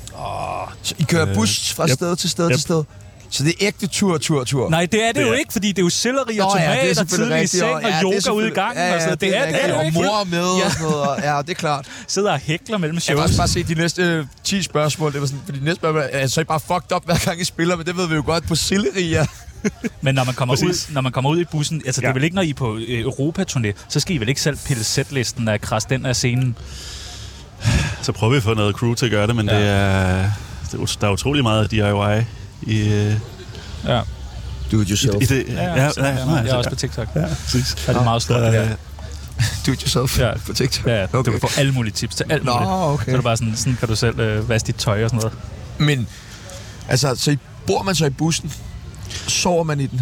Speaker 1: Så I kører
Speaker 3: Øh,
Speaker 1: bus fra
Speaker 3: yep.
Speaker 1: sted til sted til
Speaker 3: Yep.
Speaker 1: sted? Så det er ægte tur, tur, tur?
Speaker 4: Nej, det er det, det
Speaker 3: Det
Speaker 4: jo
Speaker 3: er-
Speaker 4: ikke, fordi det er jo selleri og
Speaker 1: Nå, ja, det er
Speaker 4: tomater,
Speaker 1: selvfølgelig
Speaker 4: tidlig
Speaker 1: rigtigt,
Speaker 4: i seng
Speaker 1: og-
Speaker 4: og,
Speaker 1: ja, det er
Speaker 4: yoga ude i
Speaker 1: selvfølgelig-
Speaker 4: gangen. og sådan noget. det, er det,
Speaker 1: rigtigt,
Speaker 4: jo
Speaker 1: Og
Speaker 4: ikke.
Speaker 1: mor er med
Speaker 4: Ja.
Speaker 1: og sådan noget. og- Ja, det er klart.
Speaker 4: Sidder og hækler mellem
Speaker 1: Jeg
Speaker 4: shows.
Speaker 1: kan også bare se de næste øh, 10 spørgsmål. Det var sådan, for de næste spørgsmål er, så er I bare fucked up hver gang I spiller, men det ved vi jo godt på Silleria.
Speaker 4: Men når man kommer,
Speaker 3: Præcis.
Speaker 4: ud, når man kommer ud i bussen, altså ja. det er
Speaker 3: Ja.
Speaker 4: vel ikke, når I er på øh, Europaturné, så skal I vel ikke selv pille sætlisten af krasse den af scenen.
Speaker 3: Så prøver vi at få noget crew til at gøre det, men ja. det er, det er, ut- der er utrolig meget DIY i, øh,
Speaker 4: Ja,
Speaker 1: Do it
Speaker 3: i,
Speaker 1: yourself.
Speaker 3: i det.
Speaker 4: jeg,
Speaker 3: nej,
Speaker 4: jeg er også
Speaker 3: altså,
Speaker 4: på TikTok. Ja.
Speaker 3: ja, præcis.
Speaker 4: Er det meget stort, det
Speaker 3: Så, øh,
Speaker 4: der?
Speaker 1: Do it yourself
Speaker 4: Ja.
Speaker 1: på TikTok.
Speaker 4: Ja, okay. du kan få alle mulige tips til alt
Speaker 1: Nå,
Speaker 4: muligt.
Speaker 1: okay.
Speaker 4: Så er det bare sådan, sådan kan du selv øh, vaske dit tøj og sådan noget.
Speaker 1: Men, altså, så I, bor man så i bussen? Sover man i den?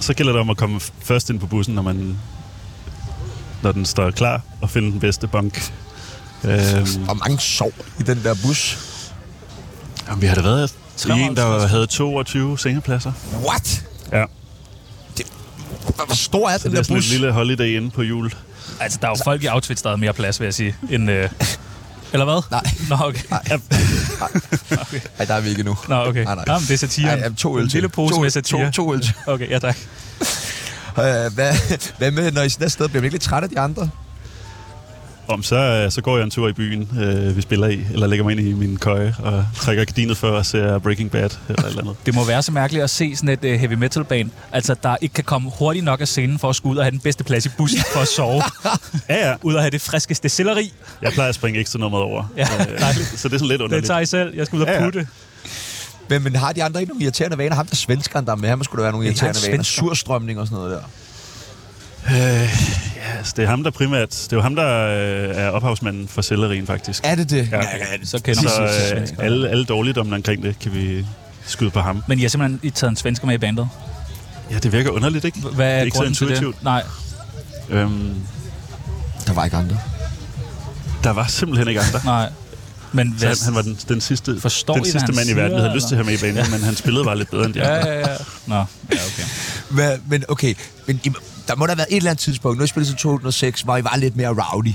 Speaker 3: så gælder det om at komme f- først ind på bussen, når man når den står klar, og finde den bedste bank. Øhm,
Speaker 1: Hvor mange sov i den der bus?
Speaker 3: jamen, vi har da været i en, der
Speaker 4: 53.
Speaker 3: havde 22 sengepladser.
Speaker 1: What?
Speaker 3: Ja,
Speaker 1: Hvor- Hvor stor er
Speaker 3: så
Speaker 1: den
Speaker 3: det er
Speaker 1: der
Speaker 3: sådan en
Speaker 1: bus?
Speaker 3: lille holiday inde på jul.
Speaker 4: Altså, der er jo folk i outfits, der havde mere plads, vil jeg sige, end... Øh... Eller hvad?
Speaker 1: Nej.
Speaker 4: Nå, okay.
Speaker 1: Nej. Nej, der er vi ikke nu.
Speaker 4: Nå, okay.
Speaker 1: Nej, nej.
Speaker 4: Jamen, det er satire.
Speaker 1: Ej, jamen, to øl
Speaker 4: En
Speaker 1: til.
Speaker 4: lille pose
Speaker 1: to,
Speaker 4: med satire.
Speaker 1: To, to øl til.
Speaker 4: Okay, ja tak.
Speaker 1: Øh, hvad, hvad med, når I sådan et sted bliver virkelig træt af de andre?
Speaker 3: Om så, øh, så går jeg en tur i byen, øh, vi spiller i, eller lægger mig ind i min køje og trækker gardinet for og ser Breaking Bad eller et eller andet.
Speaker 4: Det må være så mærkeligt at se sådan et uh, heavy metal band, altså der ikke kan komme hurtigt nok af scenen for at skulle ud og have den bedste plads i bussen for at sove.
Speaker 3: Ja, ja.
Speaker 4: ud og have det friskeste selleri.
Speaker 3: Jeg plejer at springe ekstra nummeret over. Øh,
Speaker 4: Ja, dejligt.
Speaker 3: så det er sådan lidt
Speaker 4: Det
Speaker 3: underligt.
Speaker 4: tager I selv. Jeg skal ud og
Speaker 3: Ja, ja.
Speaker 4: putte.
Speaker 1: Men, men har de andre ikke nogle irriterende vaner? Ham der svenskeren, der er med, ham skulle der være nogle
Speaker 4: Ja,
Speaker 1: irriterende vaner.
Speaker 4: svensker.
Speaker 1: Surstrømning og sådan noget der.
Speaker 3: Altså, det er ham, der primært... Det er jo ham, der øh, er ophavsmanden for sellerien, faktisk.
Speaker 1: Er det det?
Speaker 3: Ja.
Speaker 4: Så kender
Speaker 3: Så
Speaker 4: man øh,
Speaker 3: øh, alle, alle dårligdommene omkring det kan vi skyde på ham.
Speaker 4: Men I har simpelthen I taget en svensker med i bandet.
Speaker 3: Ja, det virker underligt, ikke?
Speaker 4: Hvad
Speaker 3: det
Speaker 4: er,
Speaker 3: er ikke så
Speaker 4: grunden til
Speaker 3: intuitivt.
Speaker 4: det? Nej.
Speaker 3: Øhm,
Speaker 1: Der var ikke andre.
Speaker 3: der var simpelthen ikke andre.
Speaker 4: Nej. Men
Speaker 3: Så
Speaker 4: hvad,
Speaker 3: han, han var den, den sidste,
Speaker 4: Forstår
Speaker 3: den
Speaker 4: I, hvad
Speaker 3: sidste
Speaker 4: han
Speaker 3: mand i verden, vi
Speaker 4: siger,
Speaker 3: havde lyst til at have med i banen, men han spillede bare lidt bedre end de
Speaker 4: Ja,
Speaker 3: andre.
Speaker 4: ja, ja. Nå, ja, okay.
Speaker 1: Hvad, men okay, men I, der må der have været et eller andet tidspunkt, nu har I spillet siden 2006, hvor I var lidt mere rowdy.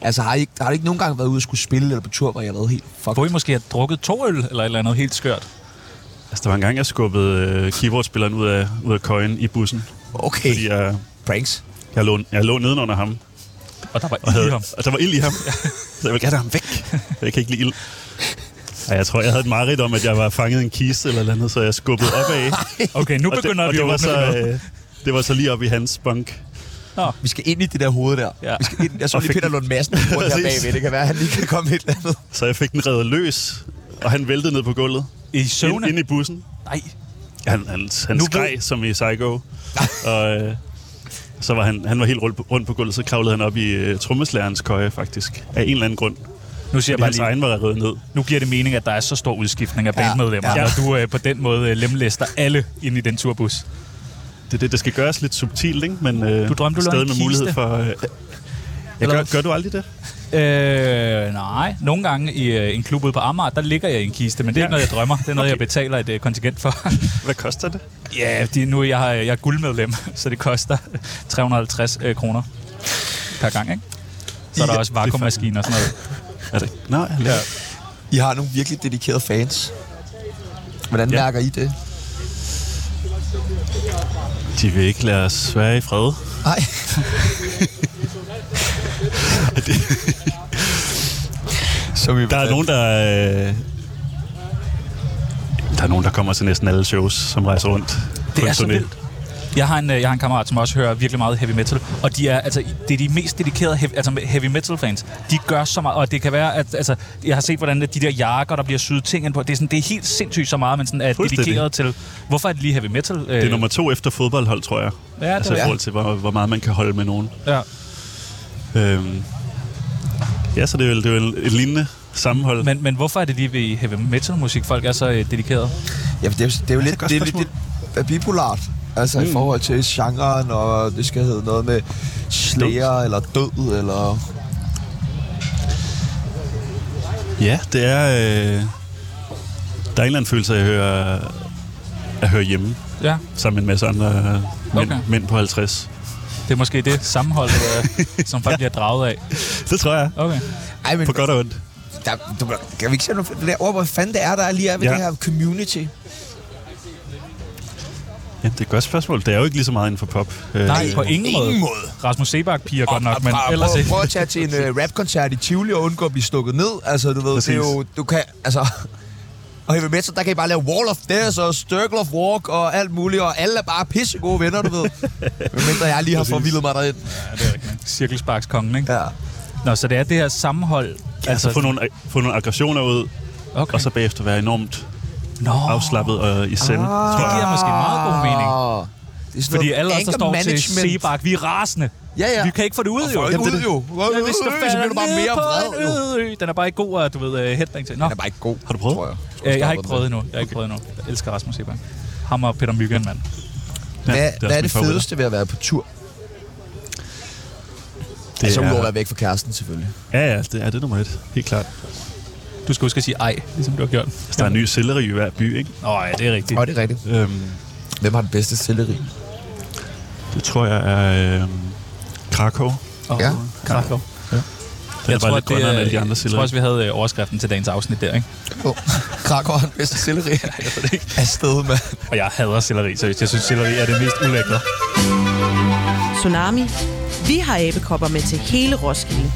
Speaker 1: Altså har I, ikke- har I ikke nogen gange været ude og skulle spille eller på tur, hvor I har været helt fuck?
Speaker 4: Hvor I måske har drukket to øl eller et eller andet helt skørt.
Speaker 3: Altså, der var en gang, jeg skubbede øh, keyboardspilleren ud af, ud af køjen i bussen,
Speaker 1: Okay,
Speaker 3: fordi jeg,
Speaker 1: pranks.
Speaker 3: jeg, lå, jeg lå nedenunder ham,
Speaker 4: Og der var
Speaker 3: og, havde,
Speaker 4: i ham.
Speaker 3: og der var ild i ham. så jeg ville gerne have ham væk. Jeg kan ikke lide ild. Ej, jeg tror, jeg havde et mareridt om, at jeg var fanget i en kiste eller et eller andet, så jeg skubbede opad.
Speaker 4: Okay, nu
Speaker 3: Og
Speaker 4: begynder
Speaker 3: og
Speaker 4: vi at
Speaker 3: det var
Speaker 4: åbne
Speaker 3: så,
Speaker 4: noget.
Speaker 3: øh, det var så lige op i hans bunk.
Speaker 1: Vi skal ind i det der hoved der.
Speaker 4: Ja.
Speaker 1: Vi skal ind. Jeg så
Speaker 3: Og
Speaker 1: lige
Speaker 3: fik-
Speaker 1: Peter Lund Madsen rundt her
Speaker 3: Præcis.
Speaker 1: bagved. Det kan være, at han lige kan komme et eller andet.
Speaker 3: Så jeg fik den revet løs, og han væltede ned på gulvet.
Speaker 4: I
Speaker 3: Ind,
Speaker 4: søvne?
Speaker 3: ind i bussen.
Speaker 4: Nej.
Speaker 3: Han, han, han
Speaker 4: Nu
Speaker 3: skreg
Speaker 4: ved-
Speaker 3: som i Psycho. og øh, så var han, han var helt rundt på, rundt på gulvet, så kravlede han op i øh, trommeslærerens køje, faktisk. Af en eller anden grund. Fordi
Speaker 4: Nu siger jeg bare
Speaker 3: hans
Speaker 4: lige,
Speaker 3: egen var revet ned.
Speaker 4: nu giver det mening, at der er så stor udskiftning af
Speaker 1: Ja,
Speaker 4: bandmedlemmer,
Speaker 1: ja.
Speaker 4: ja. når du øh, på den måde øh, lemlæster alle ind i den turbus.
Speaker 3: Det, det, det skal gøres lidt subtilt, ikke? men øh,
Speaker 4: Du drømte, du lå i
Speaker 3: stadig
Speaker 4: en
Speaker 3: med mulighed
Speaker 4: kiste.
Speaker 3: for... Øh, jeg
Speaker 4: Eller
Speaker 3: gør,
Speaker 4: hvad?
Speaker 3: gør du aldrig det?
Speaker 4: Øh, nej. Nogle gange i øh, en klub ude på Amager, der ligger jeg i en kiste, men det er ja. ikke noget, jeg drømmer. Det er noget, okay. jeg betaler et øh, kontingent for.
Speaker 3: Hvad koster det?
Speaker 4: ja, fordi nu er jeg, har- jeg er guldmedlem, så det koster 350 øh, kroner per gang, ikke? Så er der
Speaker 1: Ja,
Speaker 4: også vakuummaskiner og sådan noget.
Speaker 3: Er det? Nej, ja.
Speaker 4: Ja.
Speaker 1: I har nogle virkelig dedikerede fans. Hvordan
Speaker 3: Ja.
Speaker 1: mærker I det?
Speaker 3: de vil ikke lade os være i fred.
Speaker 1: Nej. Som I
Speaker 3: Der er nogen, der... Øh, der er nogen, der kommer til næsten alle shows, som rejser rundt. på
Speaker 4: Det er
Speaker 3: en
Speaker 4: så
Speaker 3: turné.
Speaker 4: vildt. Jeg har, en, øh, jeg har en kammerat, som også hører virkelig meget heavy metal, og de er, altså, det er de mest dedikerede heavy, altså heavy metal fans. De gør så meget, og det kan være, at altså, jeg har set, hvordan at de der jakker, der bliver syet ting ind på, det er, sådan, det er helt sindssygt så meget, man sådan er
Speaker 3: Fuldstændig.
Speaker 4: dedikeret til. Hvorfor er det lige heavy metal? Øh,
Speaker 3: Det er nummer to efter fodboldhold, tror jeg.
Speaker 4: Ja, det
Speaker 3: altså i
Speaker 4: er-
Speaker 3: forhold til, hvor, hvor meget man kan holde med nogen.
Speaker 4: ja.
Speaker 3: Øhm, ja, så det er jo, det er jo et lignende sammenhold. Men,
Speaker 4: Men, men hvorfor er det lige ved heavy metal musik, folk er så øh, dedikerede?
Speaker 1: Ja, for det er, jo- det er jo lidt,
Speaker 3: godt
Speaker 1: det er lidt,
Speaker 3: spørgsmål.
Speaker 1: lidt er bipolart. Altså mm. i forhold til genren, og det skal hedde noget med slayer, eller død, eller...
Speaker 3: ja, det er... Øh, der er en eller anden følelse af at høre, at høre hjemme,
Speaker 4: Ja,
Speaker 3: sammen med en masse andre øh, mænd,
Speaker 4: Okay.
Speaker 3: okay. mænd på 50.
Speaker 4: det er måske det sammenhold, øh, som folk bliver draget af.
Speaker 3: Det tror jeg.
Speaker 4: Okay.
Speaker 1: Ej, men
Speaker 3: På godt og ondt.
Speaker 1: der, du, kan vi ikke se noget det der ord, hvor fanden det er, der er lige er ved ja.
Speaker 3: Ja.
Speaker 1: det her community?
Speaker 3: Ja, det er et godt spørgsmål. Det er jo ikke lige så meget inden for pop. Øh,
Speaker 4: Nej, på ingen måde.
Speaker 1: Ingen måde.
Speaker 4: Rasmus Sebak piger godt nok, men
Speaker 1: bare,
Speaker 4: ellers
Speaker 1: prøv,
Speaker 4: ikke.
Speaker 1: prøv at tage til en uh, rapkoncert i Tivoli og undgå at blive stukket ned. Altså, du ved, Præcis. det er
Speaker 3: Præcis.
Speaker 1: jo... Du kan... Altså... Og heavy metal, der kan I bare lave Wall of Death og Circle of Walk og alt muligt, og alle er bare pisse gode venner, du ved. Men mindre jeg lige har forvildet mig derind.
Speaker 4: Cirkelsparkskongen, ikke?
Speaker 1: Ja.
Speaker 4: Nå, så det er det her sammenhold.
Speaker 3: Altså få nogle, få nogle aggressioner ud,
Speaker 4: okay.
Speaker 3: og så bagefter være enormt
Speaker 4: Nå,
Speaker 3: afslappet og i send.
Speaker 1: Ah,
Speaker 4: det giver måske meget god mening.
Speaker 1: Det er sådan
Speaker 4: Fordi
Speaker 1: noget
Speaker 4: alle os, der
Speaker 1: anger
Speaker 4: står til
Speaker 1: management.
Speaker 4: Sebak, vi er rasende.
Speaker 1: Ja, ja.
Speaker 4: Vi kan ikke få det ud,
Speaker 1: Og
Speaker 4: jo.
Speaker 1: får ikke ud, jo. Hvor er
Speaker 4: Men hvis
Speaker 1: det
Speaker 4: du
Speaker 1: ud, så
Speaker 4: falder
Speaker 1: bliver du bare
Speaker 4: ned
Speaker 1: mere
Speaker 4: på
Speaker 1: vred,
Speaker 4: en øde ø, Den er bare ikke god, at, du ved, uh, headbang til. Nå,
Speaker 1: Den er bare ikke god,
Speaker 3: Har du prøvet?
Speaker 1: tror jeg.
Speaker 4: øh, jeg har ikke prøvet endnu. Jeg har ikke prøvet endnu. Jeg elsker Rasmus Sebak. Ham og Peter Myggen, mand.
Speaker 1: Hvad,
Speaker 3: det er
Speaker 1: ja,
Speaker 3: også
Speaker 1: hvad er
Speaker 3: min
Speaker 1: det
Speaker 3: favorit.
Speaker 1: fedeste ved at være på tur?
Speaker 3: Det
Speaker 1: Det altså, udover at
Speaker 3: er,
Speaker 1: være væk fra kæresten, selvfølgelig.
Speaker 3: ja, ja, det er det er nummer et. Helt klart.
Speaker 4: Du skal huske at sige ej, ligesom du har gjort.
Speaker 3: Altså, der er en ny selleri i hver by, ikke?
Speaker 4: Nå, ja, det er rigtigt.
Speaker 1: Og det er rigtigt.
Speaker 3: Øhm,
Speaker 1: Hvem har den bedste selleri?
Speaker 3: det tror jeg er øhm, Krakow.
Speaker 4: Og
Speaker 1: Ja.
Speaker 4: Krakow.
Speaker 3: Den jeg er bare lidt grønnere end alle de andre
Speaker 4: jeg tror
Speaker 3: selleri.
Speaker 4: også, vi havde øh, overskriften til dagens afsnit der, ikke?
Speaker 1: Oh. Krakow har den bedste selleri. Afsted, mand.
Speaker 4: Og jeg hader selleri, så jeg synes, selleri er det mest ulækre.
Speaker 5: Tsunami. Vi har æbekopper med til hele Roskilde.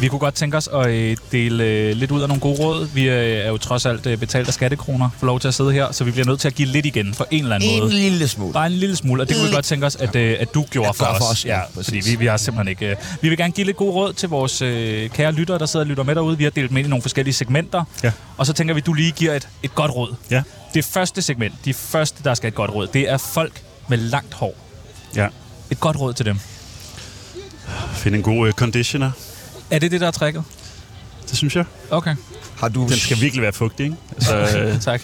Speaker 4: Vi kunne godt tænke os at øh, dele øh, lidt ud af nogle gode råd. Vi øh, er jo trods alt øh, betalt af skattekroner for lov til at sidde her, så vi bliver nødt til at give lidt igen på en eller anden
Speaker 1: En
Speaker 4: måde.
Speaker 1: lille smule.
Speaker 4: Bare en lille smule, og det kunne vi godt tænke os, at, øh, at du gjorde
Speaker 1: At
Speaker 4: for,
Speaker 1: gøre
Speaker 4: os.
Speaker 1: for os, ja,
Speaker 4: Ja,
Speaker 1: præcis.
Speaker 4: fordi vi, vi har simpelthen ikke... Øh, vi vil gerne give lidt gode råd til vores øh, kære lyttere, der sidder og lytter med derude. Vi har delt dem ind i nogle forskellige segmenter,
Speaker 3: Ja.
Speaker 4: og så tænker vi, at du lige giver et, et godt råd.
Speaker 3: Ja.
Speaker 4: Det første segment, de første, der skal have et godt råd, det er folk med langt hår.
Speaker 3: ja.
Speaker 4: Et godt råd til dem.
Speaker 3: Find en god øh, conditioner.
Speaker 4: Er det det, der er trækket?
Speaker 3: Det synes jeg.
Speaker 4: Okay,
Speaker 1: Har du...
Speaker 3: Den skal virkelig være fugtig, ikke? Altså, øh,
Speaker 4: tak.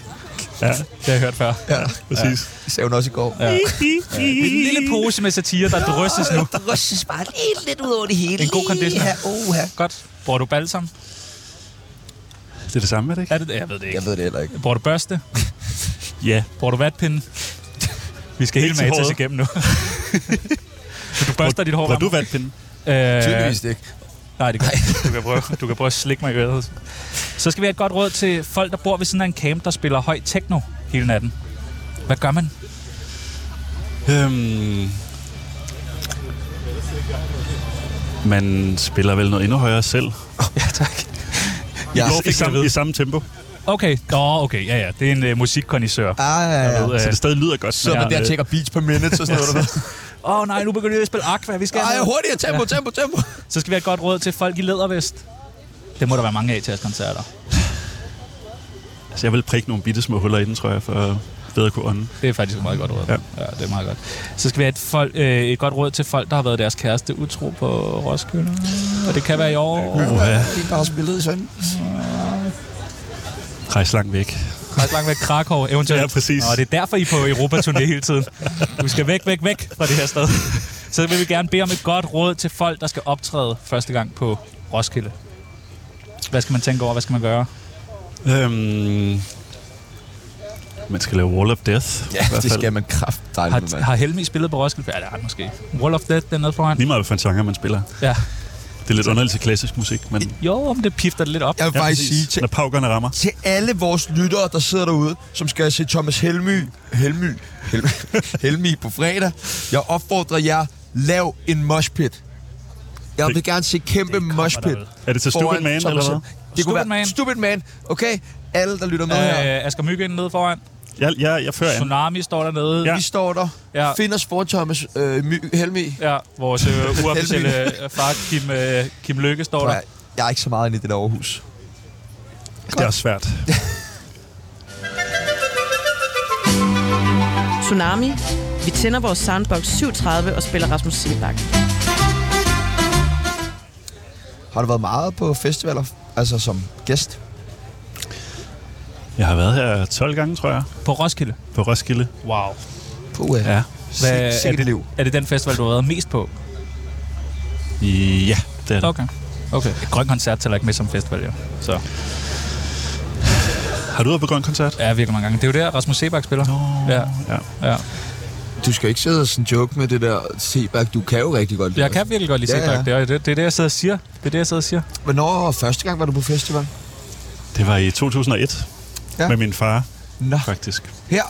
Speaker 3: ja,
Speaker 4: Det har jeg hørt før.
Speaker 1: Ja,
Speaker 3: præcis.
Speaker 1: det sagde hun også i går. Ja.
Speaker 4: En lille pose med satire, der drysses nu.
Speaker 1: Rysses bare lidt, lidt ud over det hele.
Speaker 4: En god conditioner.
Speaker 1: Ja, oha.
Speaker 4: Godt. Bruger du balsam?
Speaker 3: Det er det samme, er det ikke?
Speaker 4: Er det det? Jeg ved det
Speaker 1: Jeg
Speaker 4: ikke.
Speaker 1: ved det heller ikke.
Speaker 4: Bruger du børste?
Speaker 3: Ja.
Speaker 4: Bruger du vatpinde? Vi skal
Speaker 3: Ikke
Speaker 4: helt
Speaker 3: til
Speaker 4: matas
Speaker 3: håret.
Speaker 4: igennem nu. Så du børster dit hår.
Speaker 3: Var du
Speaker 4: Ramos?
Speaker 3: vandpinden?
Speaker 4: Øh,
Speaker 1: Tydeligvis det ikke.
Speaker 4: Nej, det gør jeg ikke. du kan, prøve, du kan prøve at slikke mig i øret. Så skal vi have et godt råd til folk, der bor ved siden af en camp, der spiller høj techno hele natten. Hvad gør man?
Speaker 3: Øhm, man spiller vel noget endnu højere selv.
Speaker 4: Ja, tak.
Speaker 1: Ja.
Speaker 3: I samme, I samme tempo.
Speaker 4: Okay. Nå, okay. Ja, ja. Det er en uh, musikkondisseur.
Speaker 1: Ah, ja, ja.
Speaker 4: Jeg ved, øh,
Speaker 3: Så det stadig lyder godt.
Speaker 1: Så er man
Speaker 3: men,
Speaker 1: der
Speaker 3: øh,
Speaker 1: og tjekker beats per minute og sådan noget. der.
Speaker 4: Åh oh, nej, nu begynder jeg at spille Aqua. Vi skal
Speaker 1: Ej,
Speaker 4: have noget.
Speaker 1: hurtigere tempo, tempo, tempo.
Speaker 4: Så skal vi have et godt råd til folk i lædervest. Det må der være mange af til jeres koncerter.
Speaker 3: Altså, jeg vil prikke nogle bitte små huller i den, tror jeg, for at bedre kunne ånde.
Speaker 4: Det er faktisk et meget godt råd.
Speaker 3: Ja.
Speaker 4: ja det er meget godt. Så skal vi have et, folk, øh, et godt råd til folk, der har været deres kæreste utro på Roskilde. Og det kan være i år.
Speaker 3: Uh, ja.
Speaker 1: Det der har spillet i søndag.
Speaker 3: Rejs langt væk.
Speaker 4: Ret langt væk Krakow, eventuelt.
Speaker 3: Ja, præcis.
Speaker 4: Og det er derfor, I er på Europaturné hele tiden. Du skal væk, væk, væk fra det her sted. Så vil vi gerne bede om et godt råd til folk, der skal optræde første gang på Roskilde. Hvad skal man tænke over? Hvad skal man gøre?
Speaker 3: Øhm, man skal lave Wall of Death.
Speaker 1: Ja,
Speaker 3: i hvert
Speaker 1: det
Speaker 3: fald.
Speaker 1: skal man kraft dejligt med,
Speaker 4: Har,
Speaker 1: mand.
Speaker 4: har Helmi spillet på Roskilde? Ja, det har han måske. Wall of Death, den er nede foran.
Speaker 3: Lige meget, hvad for en genre man spiller.
Speaker 4: Ja.
Speaker 3: Det er lidt underligt til klassisk musik, men...
Speaker 4: Jo, om det pifter det lidt op.
Speaker 1: Jeg vil faktisk sige til,
Speaker 3: Når paukerne rammer.
Speaker 1: til alle vores lyttere, der sidder derude, som skal se Thomas Helmy, Helmy, Helmy, Helmy på fredag. Jeg opfordrer jer, lav en moshpit. Jeg vil gerne se kæmpe moshpit.
Speaker 4: dervel.
Speaker 3: Er det til Stupid
Speaker 1: foran
Speaker 3: Man,
Speaker 1: Thomas
Speaker 3: eller hvad?
Speaker 1: Helmy. Det kunne
Speaker 4: Stupid
Speaker 1: være
Speaker 4: Man.
Speaker 1: Stupid Man. Okay, alle der lytter med her.
Speaker 4: Øh, Asger Myggen nede foran.
Speaker 3: Jeg, jeg, jeg fører an.
Speaker 4: Tsunami står dernede.
Speaker 3: Ja.
Speaker 1: Vi står der.
Speaker 4: Ja.
Speaker 1: Find os foran Thomas øh, My, Helmy.
Speaker 4: ja vores øh, uofficielle øh, far, Kim, øh, Kim Lykke, står der.
Speaker 1: Jeg, jeg er ikke så meget inde i det der Aarhus.
Speaker 3: Det er også svært.
Speaker 5: Tsunami. Vi tænder vores soundbox 37 og spiller Rasmus Sebak.
Speaker 1: Har du været meget på festivaler, altså som gæst?
Speaker 3: Jeg har været her 12 gange, tror jeg,
Speaker 4: På Roskilde.
Speaker 3: på Roskilde.
Speaker 4: Wow.
Speaker 1: Puh, ja.
Speaker 4: Hvad,
Speaker 1: Sikke
Speaker 4: er,
Speaker 1: et
Speaker 4: det,
Speaker 1: liv.
Speaker 4: er det den festival, du har været mest på?
Speaker 3: Ja, det er det.
Speaker 4: Okay. Okay. Grøn koncert tæller ikke med som festival, jo. Så
Speaker 3: Har du været på Grøn Koncert?
Speaker 4: ja, virkelig mange gange. Det er jo der, Rasmus Sebak spiller. Ja,
Speaker 3: Ja.
Speaker 4: ja.
Speaker 1: Du skal ikke sidde og sådan joke med det der Sebak. Du kan jo rigtig godt lide
Speaker 4: Jeg
Speaker 1: det.
Speaker 4: kan virkelig godt lide
Speaker 1: Ja,
Speaker 4: Sebak.
Speaker 1: ja.
Speaker 4: Det, er, det, det er det, jeg sidder og siger. Det er det, jeg sidder og siger.
Speaker 1: Hvornår var første gang var du på festival?
Speaker 3: Det var i 2001
Speaker 1: Ja.
Speaker 3: ja. med min far,
Speaker 1: Nå,
Speaker 3: faktisk.
Speaker 1: her.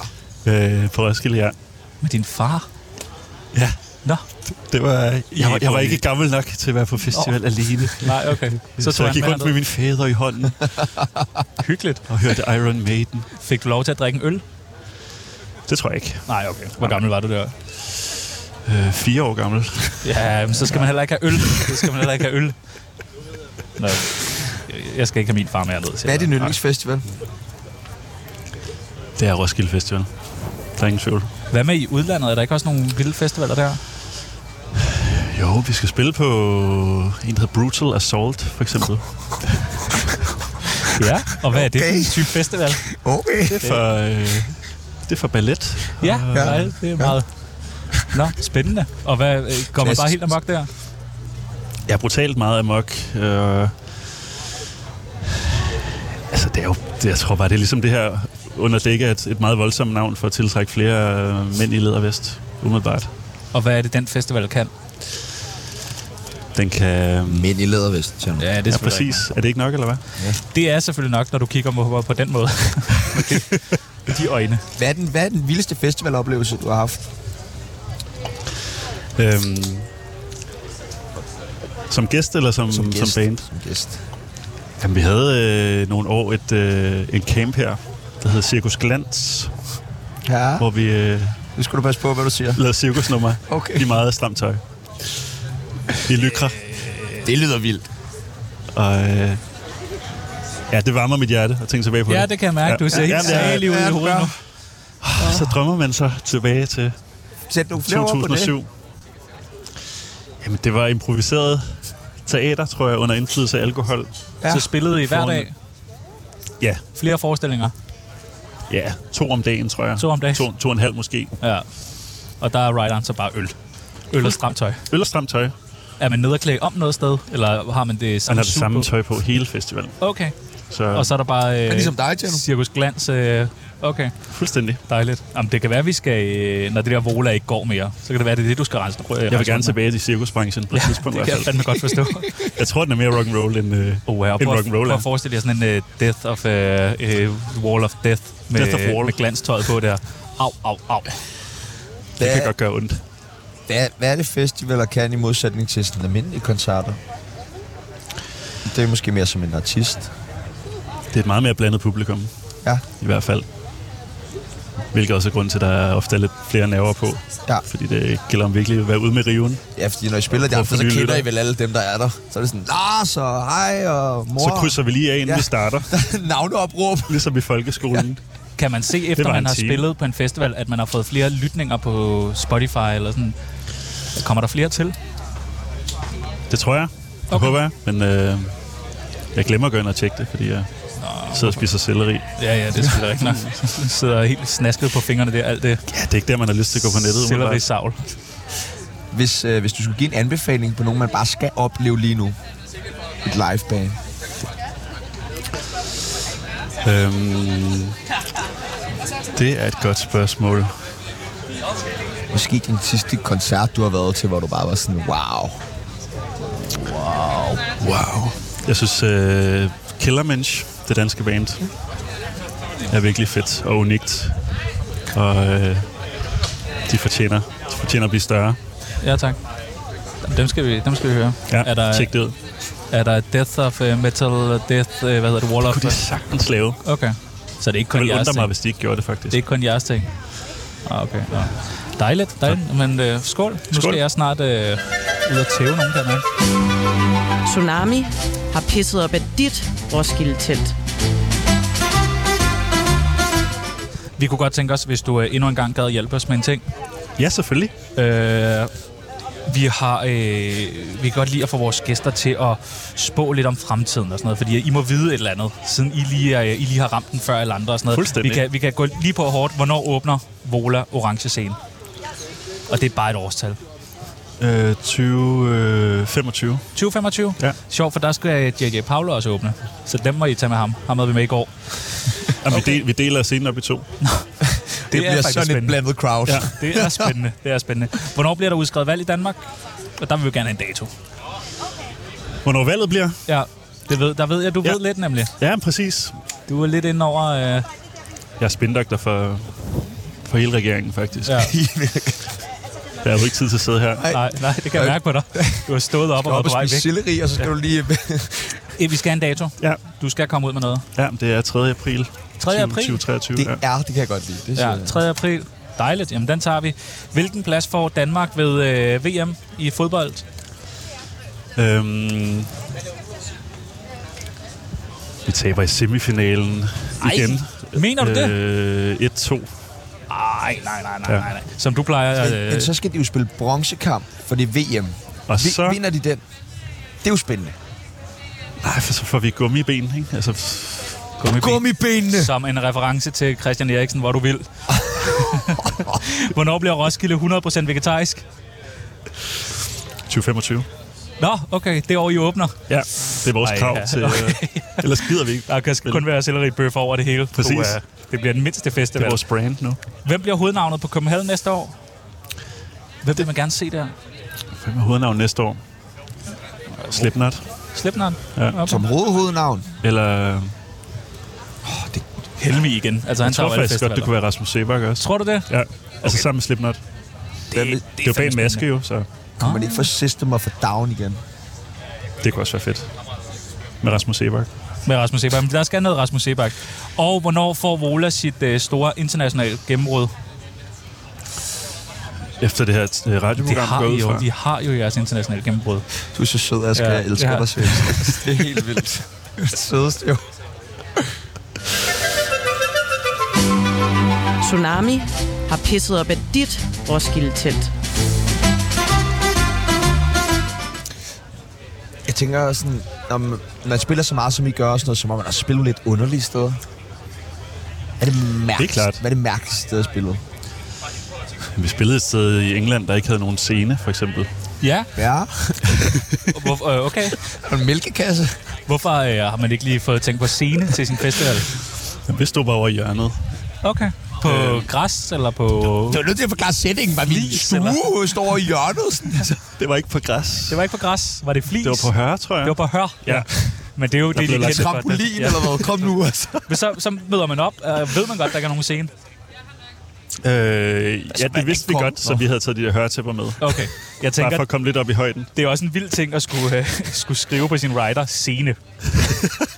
Speaker 3: Øh, på Roskilde, ja.
Speaker 4: Med din far?
Speaker 3: Ja,
Speaker 4: Nå.
Speaker 3: det var... Jeg, var, jeg var ikke gammel nok til at være på festival oh. alene.
Speaker 4: Nej, okay.
Speaker 3: Så, så jeg gik rundt med
Speaker 4: herned.
Speaker 3: min fædre i hånden
Speaker 4: Hyggeligt.
Speaker 3: og hørte Iron Maiden.
Speaker 4: Fik du lov til at drikke en øl?
Speaker 3: Det tror jeg ikke.
Speaker 4: Nej, okay. Hvor gammel var du der?
Speaker 3: Øh, fire år gammel.
Speaker 4: Ja, men så skal man heller ikke have øl. Så skal man heller ikke have øl. Nå. Jeg skal ikke have min far med herned.
Speaker 1: Hvad er din yndlingsfestival?
Speaker 3: Det er Roskilde Festival. Der er ingen tvivl.
Speaker 4: Hvad med i udlandet? Er der ikke også nogle vilde festivaler der?
Speaker 3: Jo, vi skal spille på en, der hedder Brutal Assault, for eksempel.
Speaker 4: Ja. Og hvad er det for
Speaker 1: Okay.
Speaker 4: en type festival?
Speaker 1: Okay.
Speaker 3: For øh, Det er fra ballet.
Speaker 4: Ah, Ja,
Speaker 1: Ja.
Speaker 4: ja. det er meget... Nå, spændende. Og hvad, øh, går man
Speaker 1: Klassisk.
Speaker 4: bare helt amok der?
Speaker 3: Jeg er brutalt meget amok. Øh, altså, det er jo, det, jeg tror bare, det er ligesom det her under dække er et, et meget voldsomt navn for at tiltrække flere øh, mænd i lædervest, umiddelbart.
Speaker 4: Og hvad er det, den festival kan?
Speaker 3: Den kan...
Speaker 1: Mænd i lædervest, siger ja.
Speaker 4: Ja, det er
Speaker 3: Ja, præcis. Er det ikke nok, eller hvad?
Speaker 4: Det er selvfølgelig nok, når du kigger på, på den måde. Med de, de øjne.
Speaker 1: hvad, er den, hvad er den vildeste festivaloplevelse, du har haft?
Speaker 3: Øhm, som gæst eller som, som,
Speaker 1: gæst?
Speaker 3: som band?
Speaker 1: Som gæst.
Speaker 3: Jamen, vi havde øh, nogle år et, øh, en camp her, der hed Cirkus Glans,
Speaker 1: Ja,
Speaker 3: hvor vi øh,
Speaker 1: nu skal du passe på, hvad du siger.
Speaker 3: lavede cirkusnummer
Speaker 1: Okay.
Speaker 3: i meget stramt tøj. I lykra.
Speaker 1: Det lyder vildt.
Speaker 3: Og, øh, ja, det varmer mit hjerte at tænke tilbage på
Speaker 4: Ja,
Speaker 3: det.
Speaker 4: det kan jeg mærke. Du ser helt
Speaker 3: Jamen, det er-
Speaker 4: salig ud
Speaker 1: ja,
Speaker 4: i
Speaker 1: du
Speaker 4: hovedet
Speaker 1: gør.
Speaker 4: nu.
Speaker 3: Så drømmer man sig tilbage til
Speaker 1: Sæt nogle flere ord på det.
Speaker 3: 2007. Jamen, det var improviseret teater, tror jeg, under indflydelse af alkohol.
Speaker 1: Ja.
Speaker 4: Så spillede I hver dag
Speaker 3: Ja,
Speaker 4: flere forestillinger.
Speaker 3: ja. To om dagen, tror jeg.
Speaker 4: To om dagen.
Speaker 3: To, to og en halv måske.
Speaker 4: Ja. Og der er rideren så bare øl. Øl og stramt tøj.
Speaker 3: Øl og stramt tøj.
Speaker 4: Er man nede og klæde om noget sted, eller har man det
Speaker 3: Han
Speaker 4: samme
Speaker 3: har det
Speaker 4: suit
Speaker 3: samme
Speaker 4: på?
Speaker 3: tøj på hele festivalen.
Speaker 4: Okay.
Speaker 3: Så,
Speaker 4: Og så er der bare øh,
Speaker 1: Men ligesom dig, Tjerno.
Speaker 4: cirkus glans. Øh, okay,
Speaker 3: fuldstændig.
Speaker 4: dejligt. Jamen, det kan være, vi skal, øh, når det der vola ikke går mere, så kan det være, det er det, du skal rense. Øh,
Speaker 3: Jeg vil gerne tilbage til cirkusbranchen på et tidspunkt i
Speaker 4: Det
Speaker 3: hvert
Speaker 4: kan jeg
Speaker 3: fald.
Speaker 4: fandme godt forstå.
Speaker 3: Jeg tror, den er mere rock'n'roll end, øh,
Speaker 4: Oh, ja, og
Speaker 3: end
Speaker 4: prøv, at- prøv
Speaker 3: rock'n'roll.
Speaker 4: at forestille jer sådan en uh, death of, uh, uh, wall of death med,
Speaker 3: Death of wall.
Speaker 4: med glanstøjet på der. Au, au, au.
Speaker 3: Det kan
Speaker 1: Hvad,
Speaker 3: godt gøre ondt.
Speaker 1: hvad, hvad er det festivaler kan i modsætning til sådan almindelige koncerter? Det er måske mere som en artist.
Speaker 3: Det er et meget mere blandet publikum,
Speaker 1: Ja,
Speaker 3: i hvert fald. Hvilket også er grund til, at der ofte er lidt flere nerver på.
Speaker 1: ja.
Speaker 3: Fordi det gælder om virkelig at være ude med riven.
Speaker 1: ja fordi når I spiller de
Speaker 3: Prøv at
Speaker 1: andre, så
Speaker 3: forny
Speaker 1: kender I
Speaker 3: lytter.
Speaker 1: vel alle dem, der er der. Så er det sådan, Lars og hej og mor.
Speaker 3: Så krydser vi lige af, inden
Speaker 1: Ja.
Speaker 3: ja. vi starter.
Speaker 1: navneopråb.
Speaker 3: Ligesom i folkeskolen.
Speaker 4: Kan man se,
Speaker 3: var
Speaker 4: efter man
Speaker 3: en
Speaker 4: har
Speaker 3: time.
Speaker 4: spillet på en festival, at man har fået flere lytninger på Spotify eller sådan? Kommer der flere til?
Speaker 3: Det tror jeg. Det
Speaker 4: Okay.
Speaker 3: okay. håber jeg. Men øh, jeg glemmer at gå ind og tjekke det, fordi jeg sidder og spiser selleri.
Speaker 4: Ja, ja, det er selvfølgelig rigtigt nok. Sidder helt snasket på fingrene der, alt det
Speaker 3: Ja, det er ikke der, man har lyst til at gå på nettet.
Speaker 4: selleri
Speaker 3: umiddelbart.
Speaker 4: savl.
Speaker 1: Hvis, øh, hvis du skulle give en anbefaling på nogen, man bare skal opleve lige nu. Et liveband.
Speaker 3: Øhm, det er et godt spørgsmål.
Speaker 1: Måske din sidste koncert, du har været til, hvor du bare var sådan, wow.
Speaker 3: Wow. Jeg synes, øh, Killermensch, det danske band, er virkelig fedt og unikt. Og øh, de, fortjener, de fortjener at blive større.
Speaker 4: Ja, tak. Jamen, Dem skal vi, dem skal vi høre.
Speaker 3: Ja,
Speaker 4: er, der,
Speaker 3: tjek det ud.
Speaker 4: er der Death of uh, Metal, Death, uh, hvad hedder det, Wall of...
Speaker 3: Kunne de sagtens lave?
Speaker 4: Okay. Så det er ikke
Speaker 3: Jeg
Speaker 4: kun
Speaker 3: vil
Speaker 4: jeres
Speaker 3: undre mig,
Speaker 4: ting.
Speaker 3: hvis de ikke gjorde det, faktisk.
Speaker 4: Det er ikke kun jeres ting. Ah, okay. Ja. Dejligt, dejligt. Men øh, skål. Nu skål. skal jeg snart øh, ud og tæve nogen dernede.
Speaker 5: Tsunami har pisset op af dit Roskilde-telt.
Speaker 4: Vi kunne godt tænke os, hvis du øh, endnu en gang gad hjælpe os med en ting.
Speaker 3: Ja, selvfølgelig.
Speaker 4: Øh, vi har øh, vi kan godt lide at få vores gæster til at spå lidt om fremtiden og sådan noget, fordi I må vide et eller andet, siden I lige, er, øh, I lige har ramt den før alle andre og sådan noget.
Speaker 3: Fuldstændig.
Speaker 4: Vi kan, vi kan gå lige på hårdt, hvornår åbner Vola Orange Scene? Og det er bare et årstal.
Speaker 3: Øh, 20, øh, 25.
Speaker 4: 2025?
Speaker 3: Ja.
Speaker 4: Sjovt, for der skal øh, J.J. Paolo også åbne. Så dem må I tage med ham. Ham havde vi med i går.
Speaker 3: Jamen, okay. vi, del, vi deler scenen op i to.
Speaker 1: Det, det bliver
Speaker 4: faktisk
Speaker 1: sådan et
Speaker 4: spændende.
Speaker 1: blandet crowd. Ja.
Speaker 3: Ja.
Speaker 4: Det er spændende. Det er spændende. Hvornår bliver der udskrevet valg i Danmark? Og der vil vi gerne have en dato.
Speaker 3: Hvornår valget bliver?
Speaker 4: Ja, det ved, der ved jeg, du ja.
Speaker 3: Ja.
Speaker 4: ved lidt nemlig.
Speaker 3: Ja, præcis.
Speaker 4: Du er lidt inde over... Øh,
Speaker 3: Jeg er spindoktor for, for hele regeringen, faktisk.
Speaker 4: Ja.
Speaker 3: Ja. Jeg har jo ikke tid til at sidde her.
Speaker 4: nej, nej, det kan jeg mærke på dig. Du har stået op og været
Speaker 1: Op
Speaker 4: på
Speaker 1: og
Speaker 4: vej
Speaker 1: spise
Speaker 4: væk.
Speaker 1: silleri, og så skal ja. du lige...
Speaker 4: Eh, Vi skal have en dato.
Speaker 3: Ja,
Speaker 4: Du skal komme ud med noget.
Speaker 3: ja det er 3. april
Speaker 4: 3. april?
Speaker 3: 2023.
Speaker 1: det
Speaker 3: ja.
Speaker 1: er, det kan jeg godt lide. Det siger
Speaker 4: Ja,
Speaker 1: jeg.
Speaker 4: 3. april. Dejligt. Jamen, den tager vi. Hvilken plads får Danmark ved øh, VM i fodbold?
Speaker 3: Øhm, vi taber i semifinalen
Speaker 4: Ej,
Speaker 3: igen.
Speaker 4: mener du det?
Speaker 3: Øh, 1-2.
Speaker 4: Nej, nej, nej, nej,
Speaker 3: Ja.
Speaker 4: nej. nej. Som du plejer...
Speaker 1: Men, men
Speaker 4: Øh,
Speaker 1: så skal de jo spille bronzekamp, for det er VM.
Speaker 3: Og
Speaker 1: Vi,
Speaker 3: så...
Speaker 1: Vinder de den? Det er jo spændende.
Speaker 3: Nej, for så får vi gummiben, ikke? Altså,
Speaker 4: gummiben.
Speaker 1: Gummibenene!
Speaker 4: Som en reference til Christian Eriksen, hvor du vil. Hvornår bliver Roskilde 100% vegetarisk?
Speaker 3: 2025.
Speaker 4: Nå, okay, det år, I åbner.
Speaker 3: Ja, det er vores
Speaker 4: Ej,
Speaker 3: Ej, krav
Speaker 4: ja,
Speaker 3: ja. til... Øh, ellers gider vi ikke.
Speaker 4: Der kan kun være selleribøffer over det hele.
Speaker 3: Præcis.
Speaker 4: Du, øh, det bliver den mindste
Speaker 3: Det er
Speaker 4: festival.
Speaker 3: vores brand nu.
Speaker 4: Hvem bliver hovednavnet på Copenhagen næste år? Hvem vil man gerne se der?
Speaker 3: Hvem er hovednavn næste år? Slipknot.
Speaker 4: Slipknot?
Speaker 3: Ja.
Speaker 4: Okay.
Speaker 1: Som hovedhovednavn.
Speaker 3: Eller...
Speaker 4: Helmi igen. Altså, han
Speaker 3: Jeg
Speaker 4: tager
Speaker 3: tror
Speaker 4: jo alle
Speaker 3: faktisk godt, det
Speaker 4: festivaler.
Speaker 3: kunne være Rasmus Sebak også.
Speaker 4: Tror du det?
Speaker 3: Ja, altså sammen med Slipknot.
Speaker 4: Det,
Speaker 1: det er
Speaker 3: Det er jo bag en
Speaker 4: fandme
Speaker 3: maske
Speaker 4: spændende.
Speaker 3: jo, så
Speaker 1: Kunne man ikke få System of a Down igen?
Speaker 3: det kunne også være fedt. Med Rasmus Sebak.
Speaker 4: Med Rasmus Sebak. Men der skal noget Rasmus Sebak. Og hvornår får Vola sit øh, store internationale gennembrud?
Speaker 3: Efter det her øh,
Speaker 4: Det
Speaker 3: radioprogram
Speaker 4: har
Speaker 3: går
Speaker 4: I
Speaker 3: ud
Speaker 4: jo.
Speaker 3: fra.
Speaker 4: Vi har jo jeres internationale gennembrud.
Speaker 1: Du er så sød, Asger.
Speaker 4: Ja,
Speaker 1: jeg elsker
Speaker 4: ja.
Speaker 1: dig selv. Det er helt vildt. Du er Sødest, jo.
Speaker 5: Tsunami har pisset op af dit Roskilde-telt.
Speaker 1: Jeg tænker sådan, når man, når man spiller så meget, som I gør, og sådan noget, så må man også spille lidt underlige steder. Er det mærkeligt?
Speaker 3: Det er klart.
Speaker 1: Hvad er det mærkeligste sted at spille?
Speaker 3: Vi spillede et sted i England, der ikke havde nogen scene, for eksempel.
Speaker 4: Ja,
Speaker 1: Ja,
Speaker 4: hvor, øh, okay.
Speaker 1: og en mælkekasse.
Speaker 4: Hvorfor øh, har man ikke lige fået tænkt på scene til sin festival?
Speaker 3: Vi stod bare over i hjørnet.
Speaker 4: Okay. På øh. græs eller på...
Speaker 1: Du er nødt til at forklare settingen. Var vi i en
Speaker 4: Flis, eller
Speaker 1: stue, står over i hjørnet? Sådan. altså.
Speaker 3: Det var ikke på græs.
Speaker 4: Det var ikke på græs. Var det flis?
Speaker 3: Det var på høre, tror jeg.
Speaker 4: Det var på hør.
Speaker 3: Ja.
Speaker 4: Men det er jo det, de
Speaker 3: blev
Speaker 4: er
Speaker 3: lagt
Speaker 4: kendte for.
Speaker 1: Trampolin eller hvad? Kom nu, altså.
Speaker 4: Men så, så møder man op, og ved man godt, der ikke er nogen scene.
Speaker 3: Øh, ja,
Speaker 1: man
Speaker 3: det vidste
Speaker 1: ikke
Speaker 3: vi
Speaker 1: komme.
Speaker 3: godt, så
Speaker 1: Nå.
Speaker 3: vi havde taget de der høretæpper med.
Speaker 4: Okay. Altså, Jeg
Speaker 3: Bare
Speaker 4: tænker,
Speaker 3: for at komme lidt op i højden.
Speaker 4: det er også en vild ting at skulle, øh, skulle skrive på sin rider scene.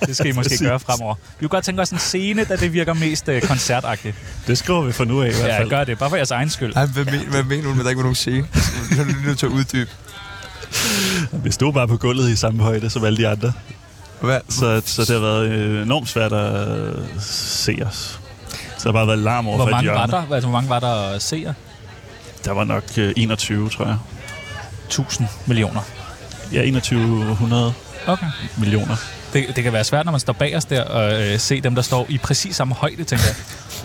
Speaker 4: det skal I måske
Speaker 3: Præcis.
Speaker 4: gøre fremover. Vi kunne godt tænke os en scene, da det virker mest øh, koncertagtigt.
Speaker 3: Det skriver vi for nu af i hvert
Speaker 4: Ja,
Speaker 3: fald.
Speaker 4: gør det. Bare for jeres egen skyld.
Speaker 1: Ej, hvad, men, hvad mener du med, at der ikke var nogen scene? Nu er du nødt til at uddybe.
Speaker 3: vi stod bare på gulvet i samme højde som alle de andre.
Speaker 1: Hvad?
Speaker 3: Så, så det har været øh, enormt svært at øh, se os. Så der har bare været larm over
Speaker 4: Hvor
Speaker 3: for et
Speaker 4: mange var
Speaker 3: hjørne.
Speaker 4: der? Altså, hvor mange var der at se jer?
Speaker 3: Der var nok øh, 21, tror jeg.
Speaker 4: 1000 millioner.
Speaker 3: Ja, 2100
Speaker 4: Okay.
Speaker 3: millioner.
Speaker 4: Det, det kan være svært, når man står bag os der og øh, se dem, der står i præcis samme højde, tænker jeg.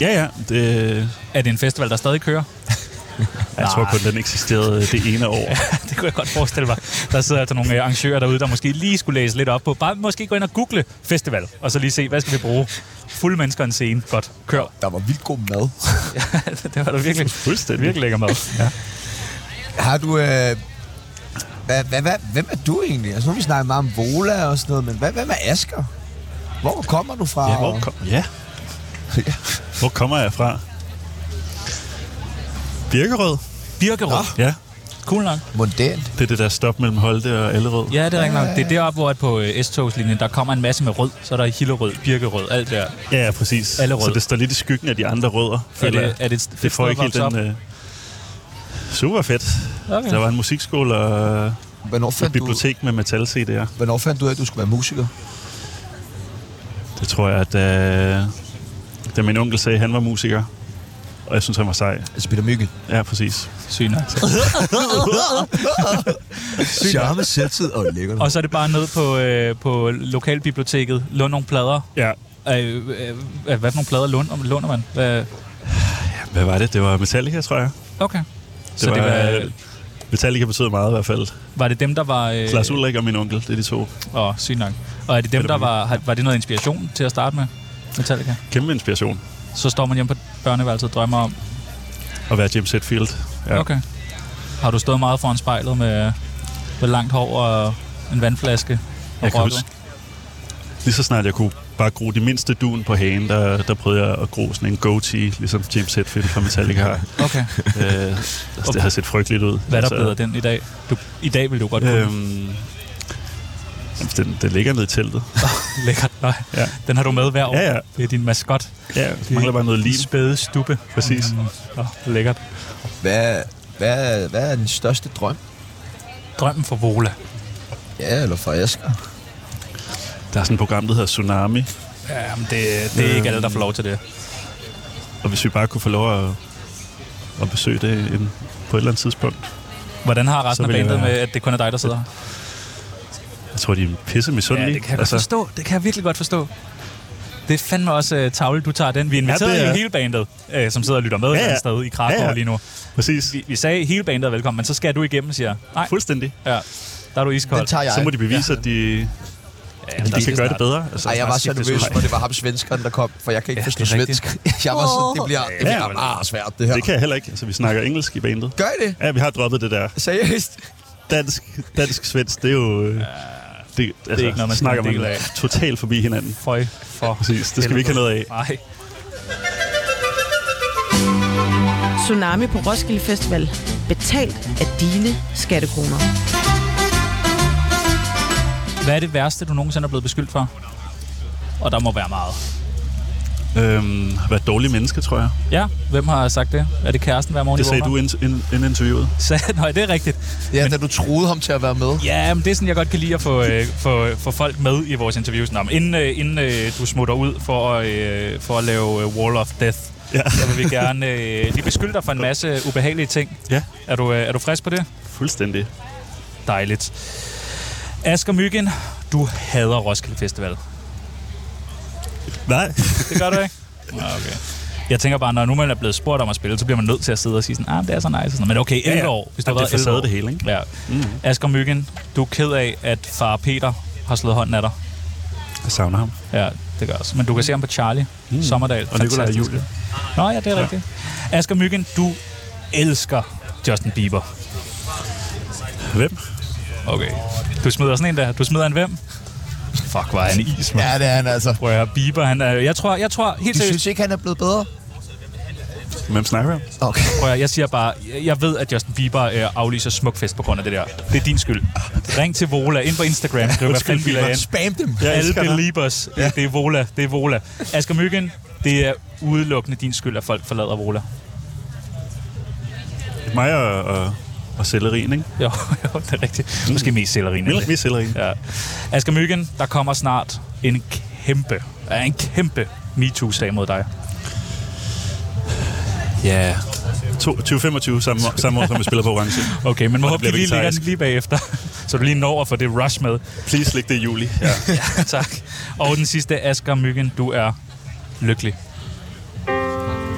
Speaker 3: Ja, ja. Det,
Speaker 4: Er det en festival, der stadig kører?
Speaker 3: jeg tror kun, den eksisterede det ene år.
Speaker 4: det kunne jeg godt forestille mig. Der sidder altså nogle øh, arrangører derude, der måske lige skulle læse lidt op på. Bare måske gå ind og google festival, og så lige se, hvad skal vi bruge? Fulde mennesker og en scene. Godt, kør.
Speaker 1: Der var vildt god mad.
Speaker 4: det var da virkelig,
Speaker 3: Fuldstændig.
Speaker 4: virkelig lækker mad. Ja.
Speaker 1: Har du... Øh, hvad, hvad, hvad, hvem er du egentlig? Altså, nu har vi snakket meget om Vola og sådan noget, men hvad, hvad med Asker? Hvor kommer du fra?
Speaker 3: Ja, hvor, kom, ja. hvor kommer jeg fra? Birkerød.
Speaker 4: Birkerød.
Speaker 3: Ja,
Speaker 4: Cool nok.
Speaker 1: Mondænt.
Speaker 3: det er det der stop mellem Holte og Allerød.
Speaker 4: Ja, det er rigtigt nok. Det er deroppe, hvor at på øh, S-togslinjen, der kommer en masse med rød. Så er der Hillerød, Birkerød, alt der.
Speaker 3: ja, ja præcis.
Speaker 4: Allerød.
Speaker 3: Så det står lidt i skyggen af de andre rødder.
Speaker 4: Er
Speaker 3: føler
Speaker 4: det,
Speaker 3: jeg.
Speaker 4: er det et fedt
Speaker 3: det får
Speaker 4: sted at
Speaker 3: ikke helt
Speaker 4: vokse op?
Speaker 3: den... Øh, super fedt.
Speaker 4: Okay.
Speaker 3: Der var en musikskole og øh,
Speaker 1: Hvornår
Speaker 3: et
Speaker 1: fandt, du,
Speaker 3: bibliotek med metal-CD'er.
Speaker 1: hvornår fandt du ud af, at du skulle være musiker?
Speaker 3: Det tror jeg, at øh, da min onkel sagde, at han var musiker, og jeg synes, han var sej.
Speaker 1: Altså Peter Mygge.
Speaker 3: Ja, præcis.
Speaker 4: Sygt nok.
Speaker 1: Charme, selvtid og lækker.
Speaker 3: Mm.
Speaker 4: Og så er det bare ned på, øh, på lokalbiblioteket. Lund nogle plader.
Speaker 3: Ja.
Speaker 4: Øh, øh, øh, hvad for nogle plader lund, låner man? Hvad?
Speaker 3: Hvad var det? Det var Metallica, tror jeg.
Speaker 4: Okay.
Speaker 3: Det
Speaker 4: så
Speaker 3: var,
Speaker 4: det var,
Speaker 3: øh, Metallica betød meget i hvert fald.
Speaker 4: var det dem, der var... Øh,
Speaker 3: Lars Ulrik og min onkel, det er de to.
Speaker 4: Åh, sygt nok. Og er det dem,
Speaker 3: Peter
Speaker 4: der
Speaker 3: Møller.
Speaker 4: var... Har, var det noget inspiration til at starte med? Metallica.
Speaker 3: Kæmpe inspiration.
Speaker 4: Så står man hjemme på børneværelset og drømmer om...
Speaker 3: At være James Hetfield.
Speaker 4: Ja. Okay. Har du stået meget foran spejlet med, med langt hår og en vandflaske? Og
Speaker 3: Jeg kan
Speaker 4: rocket?
Speaker 3: huske, lige så snart jeg kunne bare gro det mindste dun på hagen, der, der prøvede jeg at gro sådan en goatee, ligesom James Hetfield fra Metallica har.
Speaker 4: Okay.
Speaker 3: øh, altså, det har set frygteligt ud.
Speaker 4: Hvad er der
Speaker 3: Altså,
Speaker 4: blevet af den i dag? Du, I dag vil du godt kunne. Øhm.
Speaker 3: Øhm, jamen, den, den ligger nede i teltet.
Speaker 4: Lækkert. Nej.
Speaker 3: Ja.
Speaker 4: Den har du med hver år.
Speaker 3: Ja, ja.
Speaker 4: Det er din maskot.
Speaker 3: Ja, det mangler bare noget
Speaker 4: Din
Speaker 3: lim.
Speaker 4: spæde stube.
Speaker 3: Præcis.
Speaker 4: Mm. Nå, lækkert.
Speaker 1: Hvad, hvad, hvad er den største drøm?
Speaker 4: Drømmen for Vola.
Speaker 1: Ja, eller fra Asger?
Speaker 3: Der er sådan et program, der hedder Tsunami,
Speaker 4: Ja, men det, det er ikke alle, der får lov til det.
Speaker 3: og hvis vi bare kunne få lov at, at besøge det en, på et eller andet tidspunkt.
Speaker 4: Hvordan har
Speaker 3: Så
Speaker 4: resten af
Speaker 3: vil jeg
Speaker 4: bandet med,
Speaker 3: være-
Speaker 4: at det kun er dig, der sidder her?
Speaker 3: Jeg tror, de er pisse misundelige.
Speaker 4: Altså.
Speaker 3: Altså,
Speaker 4: Ja, det kan jeg godt forstå. Det kan jeg virkelig godt forstå. Det er fandme også øh, tavle, du tager den. Vi inviterede
Speaker 3: det
Speaker 4: ja,
Speaker 3: er-
Speaker 4: jo hele bandet, øh, som sidder og lytter med ja, ja. et eller andet sted i Krakow ja, ja. lige nu.
Speaker 3: Præcis.
Speaker 4: Vi, vi sagde hele bandet velkommen, men så skal du igennem, siger jeg. Nej,
Speaker 3: Fuldstændig.
Speaker 4: ja. der er du iskold.
Speaker 1: Den tager jeg.
Speaker 3: Så må de bevise, at de,
Speaker 4: ja,
Speaker 3: de kan gøre det bedre.
Speaker 1: Så
Speaker 3: Altså,
Speaker 1: Ej, jeg var så
Speaker 4: skiftes
Speaker 1: nervøs,
Speaker 4: ud.
Speaker 1: for det var ham svenskeren, der kom, for jeg kan ikke
Speaker 4: Ja,
Speaker 1: ja, forstå
Speaker 4: det er rigtigt.
Speaker 1: svensk. Jeg var sådan, det bliver, det
Speaker 3: Ja,
Speaker 1: bliver
Speaker 3: men-
Speaker 1: meget svært, det her.
Speaker 3: det kan jeg heller ikke. Altså, vi snakker engelsk i bandet.
Speaker 1: Gør I det?
Speaker 3: Ja, vi har droppet det der
Speaker 1: Seriøst? dansk.
Speaker 3: dansk-svensk. Det er jo... øh, Det, altså, det
Speaker 4: er ikke noget, man skal
Speaker 3: snakker
Speaker 4: være en
Speaker 3: man
Speaker 4: del af.
Speaker 3: totalt forbi hinanden.
Speaker 4: Føj for
Speaker 3: Præcis, det skal vi ikke have noget af.
Speaker 4: Nej.
Speaker 5: Tsunami på Roskilde Festival. Betalt af dine skattekroner.
Speaker 4: Hvad er det værste, du nogensinde er blevet beskyldt for? Og der må være meget.
Speaker 3: Øhm, at være et dårligt menneske, tror jeg.
Speaker 4: Ja, hvem har sagt det? Er det kæresten hver morgen?
Speaker 3: Det
Speaker 4: I
Speaker 3: sagde du
Speaker 4: vågner?
Speaker 3: ind, ind, inden interviewet.
Speaker 4: Sagde, nej, det er rigtigt.
Speaker 1: Ja, da du troede ham til at være med.
Speaker 4: Ja, men det er sådan, jeg godt kan lide at få, øh, få, få folk med i vores interviews. Nå, men inden øh, inden øh, du smutter ud for, at, øh, for at lave øh, Wall of Death, ja. så vil vi gerne øh, lige beskylde dig for en masse ubehagelige ting.
Speaker 3: Ja,
Speaker 4: Er du, øh, er du frisk på det?
Speaker 3: fuldstændig.
Speaker 4: Dejligt. Asger Myggen, du hader Roskilde Festival.
Speaker 3: Nej.
Speaker 4: Det gør du ikke? Nå, okay. Jeg tænker bare, når nu man er blevet spurgt om at spille, så bliver man nødt til at sidde og sige sådan, ah, det er så nice. og Sådan. noget. Men okay, 11
Speaker 3: ja.
Speaker 4: år, hvis du
Speaker 3: Jamen,
Speaker 4: har
Speaker 3: det er
Speaker 4: været 11
Speaker 3: facade
Speaker 4: år.
Speaker 3: det hele, ikke?
Speaker 4: Ja. Mm. Asger Myggen, du er ked af, at far Peter har slået hånden af dig.
Speaker 3: Jeg savner ham.
Speaker 4: Ja, det gør jeg også. Men du kan se ham på Charlie, mm. Sommerdal.
Speaker 3: Og Nikolaj og
Speaker 4: Fantastisk.
Speaker 3: Julie.
Speaker 4: Nå ja, det er ja. rigtigt. Asger Myggen, du elsker Justin Bieber.
Speaker 3: Hvem?
Speaker 4: Okay. Du smider sådan en der. Du smider en hvem? Fuck, hvor er han is, man.
Speaker 1: Ja, det er han altså.
Speaker 4: Prøv at høre, Bieber, han er... Jeg tror, jeg tror helt
Speaker 1: Du
Speaker 4: seriøst...
Speaker 1: synes ikke, han er blevet bedre?
Speaker 3: Hvem snakker vi om?
Speaker 1: Okay.
Speaker 4: Prøv at, høre, jeg siger bare, jeg- jeg ved, at Justin Bieber øh, aflyser smukfest på grund af det der. Det er din skyld. Ring til Vola, ind på Instagram, skriv, hvad fanden vil jeg
Speaker 1: Spam dem.
Speaker 3: Jeg
Speaker 4: Alle
Speaker 3: elsker dig.
Speaker 4: believers, det, det er Vola, det er Vola. Asger Myggen, det er udelukkende din skyld, at folk forlader Vola.
Speaker 3: Mig og, og, og sellerien, ikke?
Speaker 4: Jo, jo, det er rigtigt. Måske mest sellerien.
Speaker 3: Mest, mest sellerien.
Speaker 4: Ja. Asger Myggen, der kommer snart en kæmpe, ja, en kæmpe MeToo-sag mod dig.
Speaker 3: Ja. 2025 samme, år- samme år, som vi spiller på Orange.
Speaker 4: Okay, men må håbe,
Speaker 3: bliver
Speaker 4: vi lige lægger den
Speaker 3: vegetarisk.
Speaker 4: lige bagefter, så du lige når at få det rush med.
Speaker 3: Please læg det i juli. Ja.
Speaker 4: Ja, tak. Og den sidste, Asger Myggen, du er lykkelig.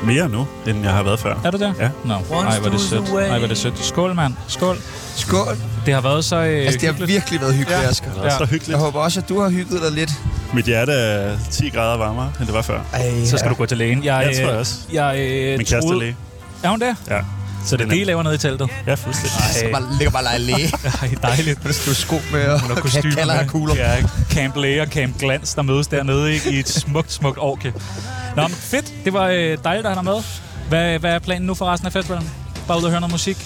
Speaker 3: Mere nu, end jeg har været før.
Speaker 4: Er du der?
Speaker 3: Ja.
Speaker 4: Nå, ej, hvor er det sødt. Ej, hvor er det sødt. Skål, mand. Skål.
Speaker 1: Skål.
Speaker 4: Det har været så øh,
Speaker 1: Altså, det har
Speaker 4: hyggeligt.
Speaker 1: virkelig været hyggeligt,
Speaker 4: Ja.
Speaker 1: Asger.
Speaker 3: Det er så hyggeligt.
Speaker 1: Jeg håber også, at du har hygget dig lidt.
Speaker 3: Mit hjerte er 10 grader varmere, end det var før.
Speaker 1: Ej,
Speaker 4: Så skal du gå til lægen. Jeg,
Speaker 3: Jeg tror
Speaker 4: øh,
Speaker 3: jeg også.
Speaker 4: Jeg, øh,
Speaker 3: Min kæreste er
Speaker 4: troede-
Speaker 3: læge.
Speaker 4: Er hun der?
Speaker 3: Ja.
Speaker 4: Så det er
Speaker 3: Den er-
Speaker 4: det, I laver nede i teltet.
Speaker 3: Ja, fuldstændig.
Speaker 1: Jeg bare, ligger bare og leger læge.
Speaker 4: Ej, dejligt.
Speaker 1: Du er sko med og, og
Speaker 4: kostymer
Speaker 1: kalder
Speaker 4: med.
Speaker 1: her kugler.
Speaker 4: Ja, Camp Læge og Camp Glans, der mødes dernede ikke? i et smukt, smukt orke. Nå, men fedt. Det var øh, dejligt at have dig med. Hvad, hvad er planen nu for resten af festivalen? Bare ud og høre noget musik?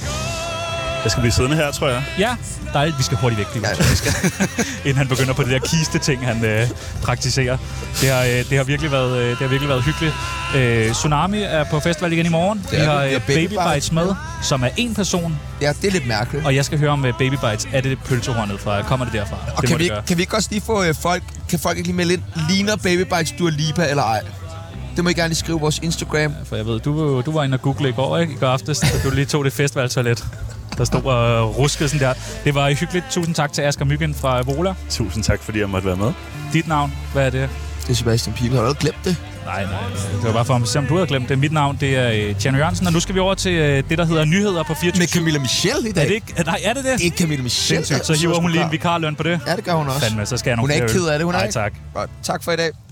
Speaker 3: Jeg skal blive siddende her, tror jeg.
Speaker 4: Ja, dejligt. Vi skal hurtigt væk, lige nu, tror jeg, vi skal. inden han begynder på det der kiste-ting, han øh, praktiserer. Det har, øh, det, har virkelig været, øh, det har virkelig været hyggeligt. Øh, Tsunami er på festival igen i morgen.
Speaker 1: er
Speaker 4: Vi har,
Speaker 1: det. Vi har
Speaker 4: øh, Baby
Speaker 1: Baby
Speaker 4: Bites
Speaker 1: Bites
Speaker 4: med,
Speaker 1: med.
Speaker 4: som er en person,
Speaker 1: Ja, det er lidt mærkeligt.
Speaker 4: og jeg skal høre om øh, Baby Bites. Er det pølsehornet fra? Kommer det derfra?
Speaker 1: Og
Speaker 4: det
Speaker 1: kan vi,
Speaker 4: gøre.
Speaker 1: ikke, kan vi ikke også lige få øh, folk... Kan folk ikke lige melde ind? Ligner Baby Bites Dua Lipa eller ej? Det må I gerne lige skrive på vores Instagram.
Speaker 4: For jeg ved, du, var jo- du var inde og google i går, ikke? I går aftes, da du lige tog det festivaltoilet. Der stod og ruskede sådan der. Det var hyggeligt. Tusind tak til Asger Myggen fra Vola.
Speaker 3: Tusind tak, fordi jeg måtte være med.
Speaker 4: Dit navn, hvad er det?
Speaker 1: Det er Sebastian Pibe. Har du allerede glemt det?
Speaker 4: Nej, nej. Det var bare for at se, om du havde glemt det. Mit navn, det er øh, Tjerno Jørgensen, og nu skal vi over til øh, det, der hedder nyheder på 24.
Speaker 1: Med Camilla Michelle i dag.
Speaker 4: Er det ikke? Nej, er det det?
Speaker 1: Det er Camilla Michelle.
Speaker 4: Sindssygt. Så hiver hun lige en vikarløn på det.
Speaker 1: Ja, det gør hun også.
Speaker 4: Fandme, så skal jeg nok
Speaker 1: Hun er
Speaker 4: flere
Speaker 1: ikke
Speaker 4: øl.
Speaker 1: ked af det, hun er
Speaker 4: Nej,
Speaker 1: ikke.
Speaker 4: tak.
Speaker 1: Godt. Tak for i dag.